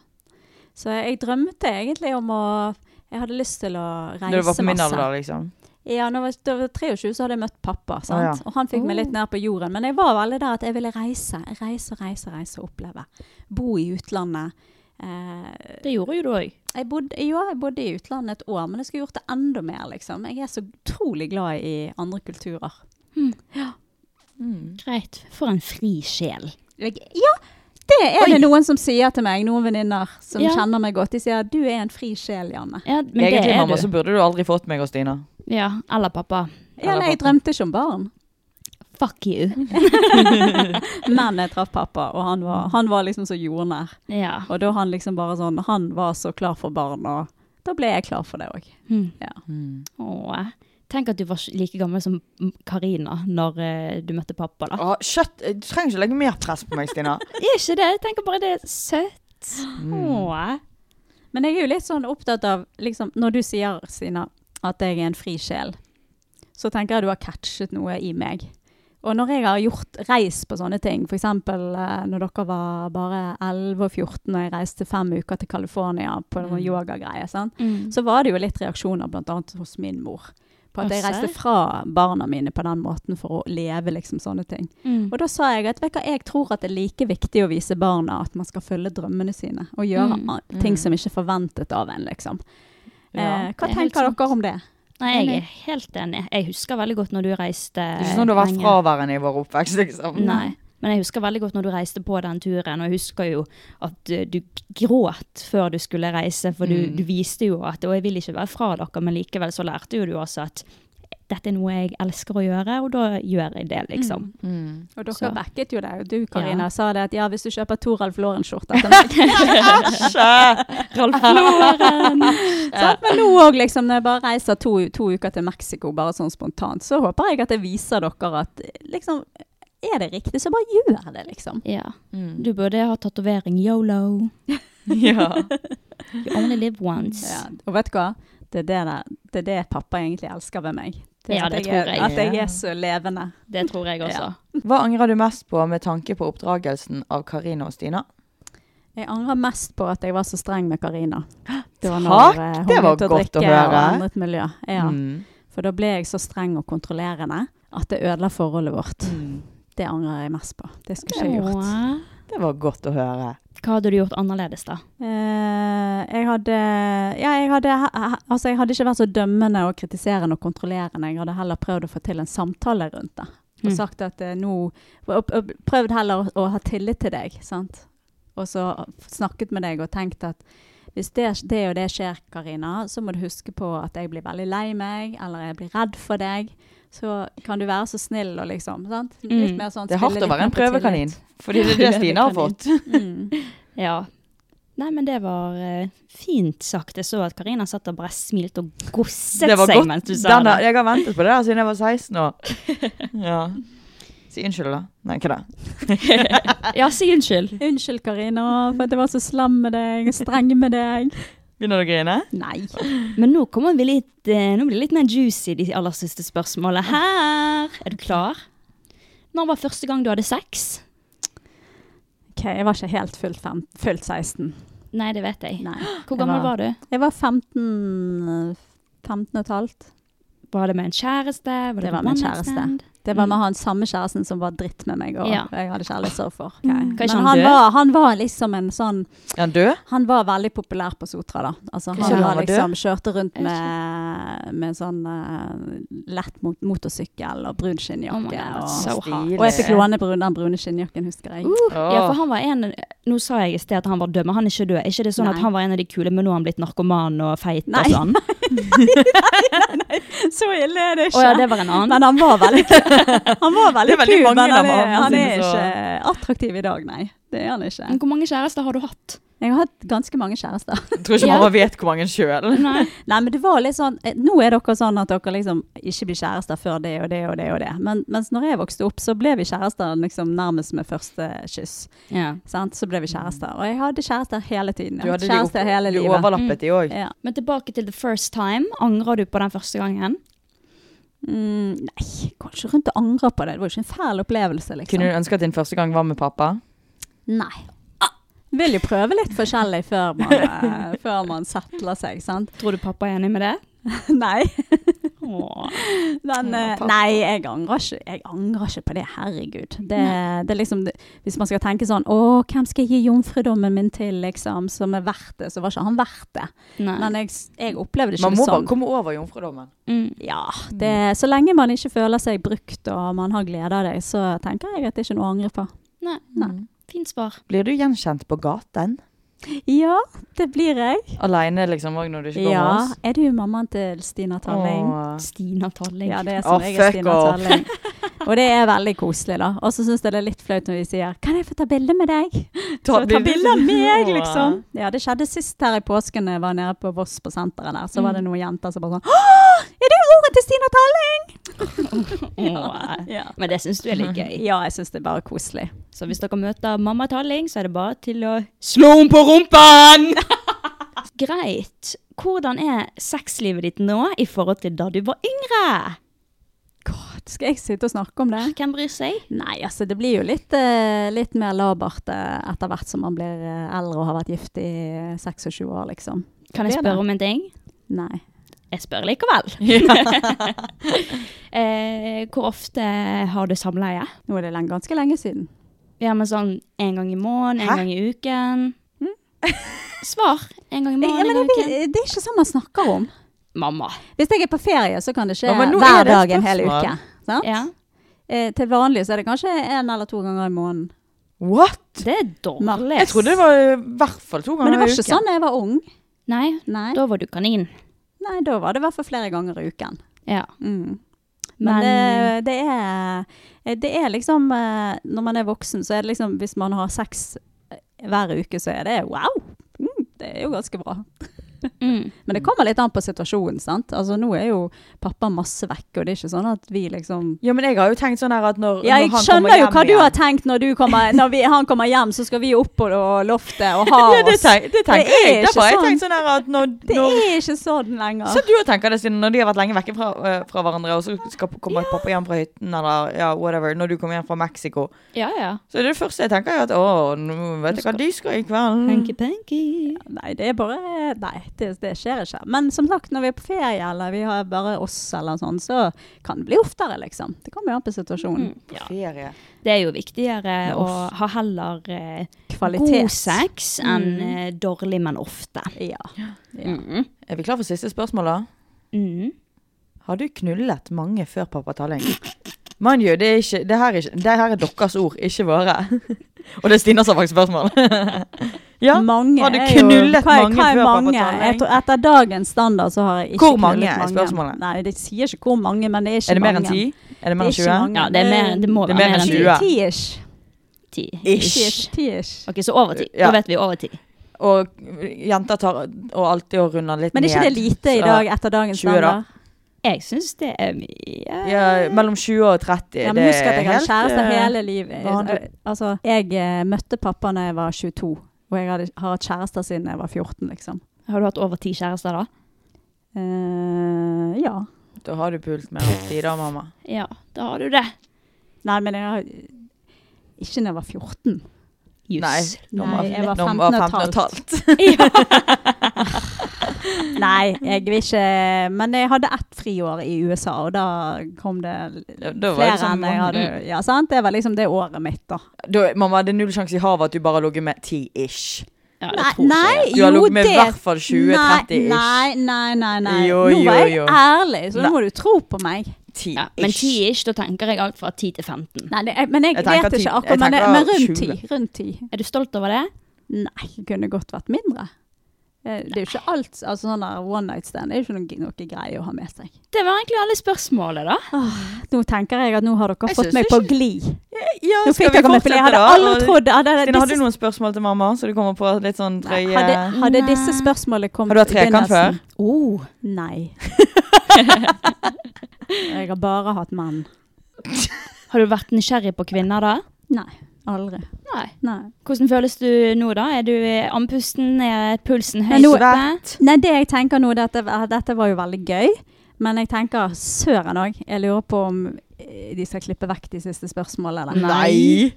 Så jeg drømte egentlig om å Jeg hadde lyst til å reise Når du var på min masse. alder, liksom. Ja, når jeg var- da jeg var 23, så hadde jeg møtt pappa. sant? ja. Og han fikk meg litt ned på jorden. Men jeg var veldig der at jeg ville reise. Reise, reise, reise og oppleve. Bo i utlandet. Eh, Det gjorde jo du òg. jeg bodde, ja, jeg bodde i utlandet et år, men jeg skulle gjort det enda mer, liksom. Jeg er så utrolig glad i andre kulturer. Mm. Greit. For en fri sjel. Jeg, ja, det er Oi. det noen som sier til meg, noen venninner som Ja. kjenner meg godt. De sier 'du er en fri sjel, Janne'. Ja, men Egentlig, det er mamma, så du. burde du aldri fått meg og Stina. Ja, eller pappa. Ja, nei, jeg drømte ikke om barn, Fuck you. men jeg traff pappa, og han var, han var liksom så jordnær. Ja. Og da han liksom bare sånn Han var så klar for barn, og da ble jeg klar for det òg. Mm. Ja. Åh. Tenk at du var like gammel som Karina når eh, du møtte pappa, da. Å, kjøtt, du trenger ikke legge mer press på meg, Stina. Er ikke det? Jeg tenker bare det er søtt. Mm. Åh. Men jeg er jo litt sånn opptatt av liksom Når du sier, Sina, at jeg er en fri sjel, så tenker jeg du har catchet noe i meg. Og når jeg har gjort reis på sånne ting, f.eks. når dere var bare 11 og 14 og jeg reiste fem uker til California på noen yogagreier, sant? Mm. så var det jo litt reaksjoner bl.a. hos min mor. På at Å, jeg reiste serr? fra barna mine på den måten for å leve liksom sånne ting. Mm. Og da sa jeg at vet du hva, jeg tror at det er like viktig å vise barna at man skal følge drømmene sine. Og gjøre Mm. a- ting som ikke er forventet av en, liksom. eh, hva det er tenker helt sant. dere om det? Nei, jeg er helt enig. Jeg husker veldig godt når du reiste. Det er ikke sånn du har vært lenge. fraværende i vår oppvekst, liksom. Nei. Men jeg husker veldig godt når du reiste på den turen, og jeg husker jo at eh, du gråt før du skulle reise, for du, du viste jo at Og jeg vil ikke være fra dere, men likevel så lærte jo du også at dette er noe jeg elsker å gjøre, og da gjør jeg det, Mm. liksom. Og dere Så. backet jo det. og Du, Karina, Ja. sa det at ja, hvis du kjøper Toralf Lauren-skjorte til meg Ralf Lauren! sant? Men nå òg, liksom, når jeg bare reiser to, to uker til Mexico, bare sånn spontant, så håper jeg at jeg viser dere at liksom Er det riktig, så bare gjør det, liksom. Ja. Du burde ha tatovering yolo. Ja. You only live once. Ja, og vet du hva? Det er det, der, det er det pappa egentlig elsker ved meg. er Ja, at det jeg, er- tror jeg. At jeg er så levende. Det tror jeg også. Hva angrer du mest på med tanke på oppdragelsen av Karina og Stina? Jeg angrer mest på at jeg var så streng med Karina. Det var Takk, eh, hun det var begynte godt å drikke høre. Og endret miljø. Ja, Mm. for da ble jeg så streng og kontrollerende at det ødela forholdet vårt. Mm. Det angrer jeg mest på. Det skulle ikke jeg gjort. Åh. Det var godt å høre. Hva hadde du gjort annerledes, da? Eh, jeg hadde Ja, jeg hadde he- he- Altså, jeg hadde ikke vært så dømmende og kritiserende og kontrollerende. Jeg hadde heller prøvd å få til en samtale rundt det. Og Mm. sagt at eh, nå og- og Prøvd heller å, å ha tillit til deg, sant. Og så snakket med deg og tenkt at hvis det, det og det skjer, Karina, så må du huske på at jeg blir veldig lei meg, eller jeg blir redd for deg. Så kan du være så snill og liksom, sant. Litt Mm. mer sånn Det er hardt spille litt å være mer en på prøvekanin. tillit. Fordi det er det Stina har fått. Mm. Ja. Nei, men det var eh, fint sagt. Jeg så at Karina satt og bare smilte og gosset Det var seg godt. mens du sa Den, har- det. jeg har ventet på det der siden jeg var 16 år. Ja. Si unnskyld, da. Nei, ikke det. Ja, si unnskyld. Unnskyld, Karina, for at jeg var så slam med deg, streng med deg. Begynner du å grine? Nei. Men nå kommer vi litt eh, Nå blir det litt mer juicy, de aller siste spørsmålene her. Er du klar? Når var første gang du hadde sex? Ok, jeg var ikke helt fullt, fem, fullt 16. Nei, det vet jeg. Nei. Hvor gammel Jeg var- var du? Jeg var 15, eh, 15 og et halvt. Var det med en kjæreste? Var det, Det var med med en kjæreste. Det var med han samme kjæresten som var dritt med meg, og Mm. Ja. jeg hadde kjærlighetssorg for. Ok. Kan ikke Men han han dø? var, han var liksom en sånn Er han død? Han var veldig populær på Sotra, da. Altså, Ikke han han var var død? liksom Kjørte rundt med, med sånn eh, lett mot motorsykkel og brun Oh my skinnjakke. God, og, so Uh. hot. og jeg fikk låne brun, den brune skinnjakken, husker jeg. Ja, for han var en Nå sa jeg i sted at han var død, men han er ikke død. Er ikke det sånn at Nei. han var en av de kule, men nå har han blitt narkoman og feit Nei. og sånn? Så ille er det Å ja, det var en annen. Men han var veldig kul. Han var Det veldig er veldig kul, mange men han av er, mammaene han sine er som- ikke attraktiv i dag, nei. Det er han ikke. Men hvor mange kjærester har du hatt? Jeg har hatt ganske mange kjærester. Jeg tror ikke Ja. mamma vet hvor mange sjøl. Nei. Nei, men det var litt sånn eh, Nå er dere sånn at dere liksom ikke blir kjærester før det og det og det og det. Men mens når jeg vokste opp, så ble vi kjærester liksom nærmest med første kyss. Ja. Sant? Så ble vi kjærester. Og jeg hadde kjærester hele tiden. Du Jeg hadde hadde de, kjærester opp, hele de livet. overlappet, de òg. Ja. Men tilbake til the first time. Angrer du på den første gangen? Mm, nei, jeg går ikke rundt og angrer på det. Det var jo ikke en fæl opplevelse, liksom. Kunne du ønske at din første gang var med pappa? Nei. Vil jo prøve litt forskjellig før man, eh, før man settler seg, sant? Tror du pappa er enig med det? Nei. Åh. Men, eh, nei, jeg angrer, ikke, jeg angrer ikke på det. Herregud. Det, det er liksom, det- hvis man skal tenke sånn Å, hvem skal jeg gi jomfrudommen min til, liksom, som er verdt det? Så var ikke han verdt det. Nei. Men jeg, s- jeg opplevde det Man ikke må sånn. bare komme over jomfrudommen. Mm. Ja, det, Så lenge man ikke føler seg brukt og man har glede av deg, så tenker jeg at det er ikke noe å angre på. Nei. Fint svar. Blir du gjenkjent på gaten? Ja, det blir jeg. Aleine, liksom, òg når du ikke går med Ja, oss? Er du mammaen til Stina Talling? Åh. Stina Talling. Ja, det er Å, som jeg er fuck Stina off. Talling. Og det er veldig koselig, da. Og så syns jeg det er litt flaut når vi sier 'Kan jeg få ta bilde med deg?' Så ta bilde av meg, liksom. Ja, det skjedde sist her i påsken jeg var nede på Voss på senteret der. Så var det noen jenter som bare sånn 'Å, er det ordet til Stina Talling?' Åh. Ja, Men det syns du er litt gøy. ja jeg syns det er bare koselig. Så hvis dere møter mamma Talling, så er det bare til å slå henne på rumpen! Greit. Hvordan er sexlivet ditt nå i forhold til da du var yngre? God, skal jeg sitte og snakke om det? Hvem bryr seg? Nei, altså det blir jo litt, eh, litt mer labert eh, etter hvert som man blir eh, eldre og har vært gift i eh, 26 år, liksom. Kan blir jeg det. spørre om en ting? Nei. Jeg spør likevel. eh, hvor ofte har du samleie? Nå er det lenge, ganske lenge siden. Ja, men sånn en gang i måneden, en Hæ? gang i uken. Svar. En gang i Mm. Ja, måneden, men jeg, en gang i uken. vet- det er ikke sånn man snakker om. Mamma. Hvis jeg er på ferie, så kan det skje Ja, men nå er hver det et dag en hel spørsmål. uke. Sant? Ja. Eh, til vanlig så er det kanskje en eller to ganger i måneden. What?! Det er dårlig. Jeg trodde det var i hvert fall to Men ganger det var i ikke uken. sånn da jeg var ung. Nei, Nei. da var du kanin. Nei, da var det i hvert fall flere ganger i uken. Ja. Mm. Men, Men, eh, det, er, det er liksom eh, Når man er voksen, så er det liksom Hvis man har sex eh, hver uke, så er det wow! Mm, det er jo ganske bra. Mm. Men det kommer litt an på situasjonen, sant. Altså nå er jo pappa masse vekk, og det er ikke sånn at vi liksom Ja, men jeg har jo tenkt sånn her at når, Ja, når jeg han skjønner kommer jo hjem hva du igjen- har tenkt når, du kommer, når vi, han kommer hjem, så skal vi opp på loftet og ha Ja, det, oss. tenk, det Det tenker er jeg. ikke Derfor har jeg sånn. tenkt sånn her at når, Det når er ikke sånn lenger. Så du og tenker det, Stine, når de har vært lenge vekke fra, eh, fra hverandre, og så skal komme pappa hjem fra hytten, eller ja, whatever, når du kommer hjem fra Mexico. ja, ja. Så det første jeg tenker, er at å, nå vet jeg hva de skal i kveld. Hunky-punky. Nei, det er bare Nei, det, det skjer ikke. Men som sagt, når vi er på ferie, eller vi har bare oss, eller sånn, så kan det bli oftere, liksom. Det kommer jo an på situasjonen. Mm. Ja. Ferie. Det er jo viktigere å ha heller eh, god Kvalitet. Mm. sex enn eh, dårlig, men ofte. Ja. Mm. Er vi klar for siste spørsmål, da? Mm. Har du knullet mange før pappa Talling? Mind you, det, er ikke, det, her er ikke, det her er deres ord, ikke våre. Og det er Stina som har faktisk spørsmål. ja, Mange har du er jo- knullet hva er- mange hva er før mange? pappa Talling? Jeg tror, etter dagens standard så har jeg ikke Hvor mange knullet er spørsmålet? Nei, det sier ikke hvor mange, men det er ikke mange. Er det mer enn ti? Er det mer enn Det er ikke 20? mange. Ja, det, er mer, det må Det er være mer mer enn enn Ti- 20. Ti-ish. ti. Ti-ish. Ti-ish. Ok, så over ti. Da Ja. vet vi over ti. Og jenter tar og alltid og runder litt Men er ned. ikke det lite i Så- dag etter dagens 20 da. standard? Jeg syns det er mye. Ja, mellom 20 og 30. Ja, men det husk at er jeg hadde helt, kjæreste eh, hele livet. vanlig. Altså, jeg eh, møtte pappa da jeg var 22, og jeg hadde, har hatt kjærester siden jeg var 14, liksom. Har du hatt over ti kjærester, da? Eh, ja. Da har du pult mer enn ti da, mamma. Ja, da har du det. Nei, men jeg har Ikke da jeg var 14. Jus. Nei, når man- Nei, jeg var når man 15 og et 15 og et halvt. ja. Nei, jeg vil ikke Men jeg hadde ett friår i USA, og da kom det Ja, Da var flere det sånn, enn jeg hadde Ja, sant? Det var liksom det året mitt, da. da, mamma, det er null sjanse i havet at du bare har ligget med 10-ish. Ja, det Nei, tror ikke jeg. nei, Du har jo, ligget med i det- hvert fall 20-30-ish. Nei, nei, nei. nei. Jo, Nå var jo, jeg jo. ærlig, så Nei. nå må du tro på meg. 10-ish. Ja, men ti ish, da tenker jeg alt fra ti til 15. Nei, det, jeg, men jeg, Jeg tenker vet ti- ikke jeg akkurat, men, det, tenker men rundt 20. ti. Rundt ti. Er du stolt over det? Nei, kunne godt vært mindre. Eh, Det er jo ikke alt altså Sånn der one night stand det er jo ikke noe, noe greie å ha med seg. Det var egentlig alle spørsmålene, da. Nå tenker jeg at nå har dere Jeg fått synes meg på ikke- glid. Ja, Nå fikk dere meg på glid. Jeg hadde aldri trodd jeg hadde, Stine, disse- hadde du noen spørsmål til mamma? Så du kommer på litt sånn Nei, drøye hadde, hadde Nei. disse spørsmålene kommet Har du hatt trekant før? Oh. Nei. jeg har bare hatt menn. Har du vært nysgjerrig på kvinner da? Nei. Aldri. Nei. Nei. Hvordan føles du nå, da? Er du eh, andpusten? Er pulsen høy? Nei, nå- Nei, det jeg tenker nå, dette, dette var jo veldig gøy. Men jeg tenker søren òg. Jeg lurer på om eh, de skal klippe vekk de siste spørsmålene. Nei!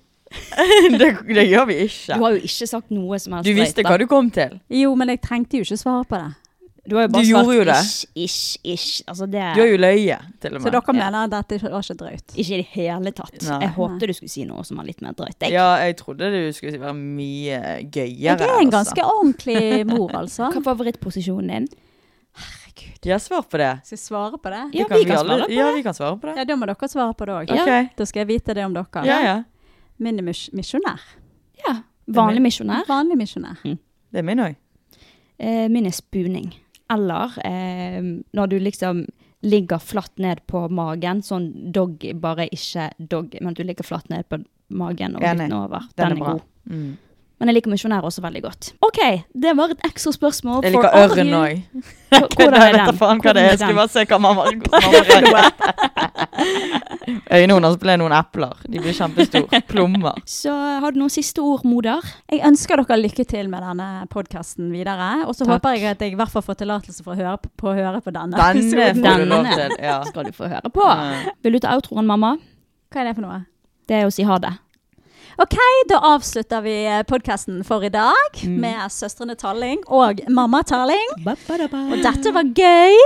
det, det gjør vi ikke. Du har jo ikke sagt noe som helst. Du visste hva du kom til. Jo, men jeg trengte jo ikke svare på det. Du har jo bare Du svart gjorde jo det. ish, ish, ish. Altså det Du har jo løyet, til og Så med. dere mener at dette ikke- var ikke drøyt? Ikke i det hele tatt. Nei. Jeg håpte du skulle si noe som var litt mer drøyt. Jeg. Ja, jeg trodde du skulle være mye gøyere. Jeg er en altså. ganske ordentlig mor, altså. Hva er favorittposisjonen din? Ja, svar på det. Skal jeg svare på det? Ja, Det kan vi kan alle- svare på Ja, det. vi kan svare på det. Ja, da må dere svare på det òg. Ja. Ok. Da skal jeg vite det om dere. Ja, ja. Min er mis- misjonær. Ja. Vanlig misjonær. Vanlig misjonær. Det er min òg. Eh, min er spuning. Eller eh, når du liksom ligger flatt ned på magen, sånn dog, bare ikke dog, men at du ligger flatt ned på magen og Enig. dytten over. Den Den, er er, bra. god. Mm. Men jeg liker misjonær også veldig godt. OK, det var et ekstra spørsmål. Jeg for liker all ørn you- òg. Hvordan Jeg er vet da den? faen hva det er. Hvordan Jeg skulle er bare se hva mamma Øynene hennes ble noen epler. De blir kjempestore. Plommer. den? Så har du noen siste ord, moder? Jeg ønsker dere lykke til med denne podkasten videre. Og så Takk. håper jeg at jeg i hvert fall får tillatelse for å høre på, på, å høre på denne. Denne får du lov Denne. til. Ja. Skal du få høre på. Vil du ta outroen, mamma? Hva er det for noe? Det er å si ha det. OK, da avslutter vi podkasten for i dag med søstrene Talling og mamma Talling. Og dette var gøy.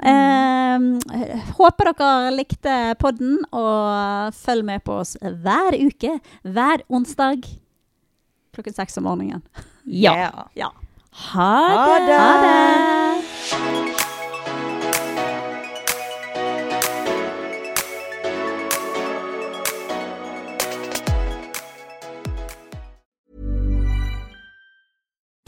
Eh, håper dere likte podden, og følg med på oss hver uke, hver onsdag klokken seks om morgenen. Ja. Ja. Ja. Ha det! Ha det!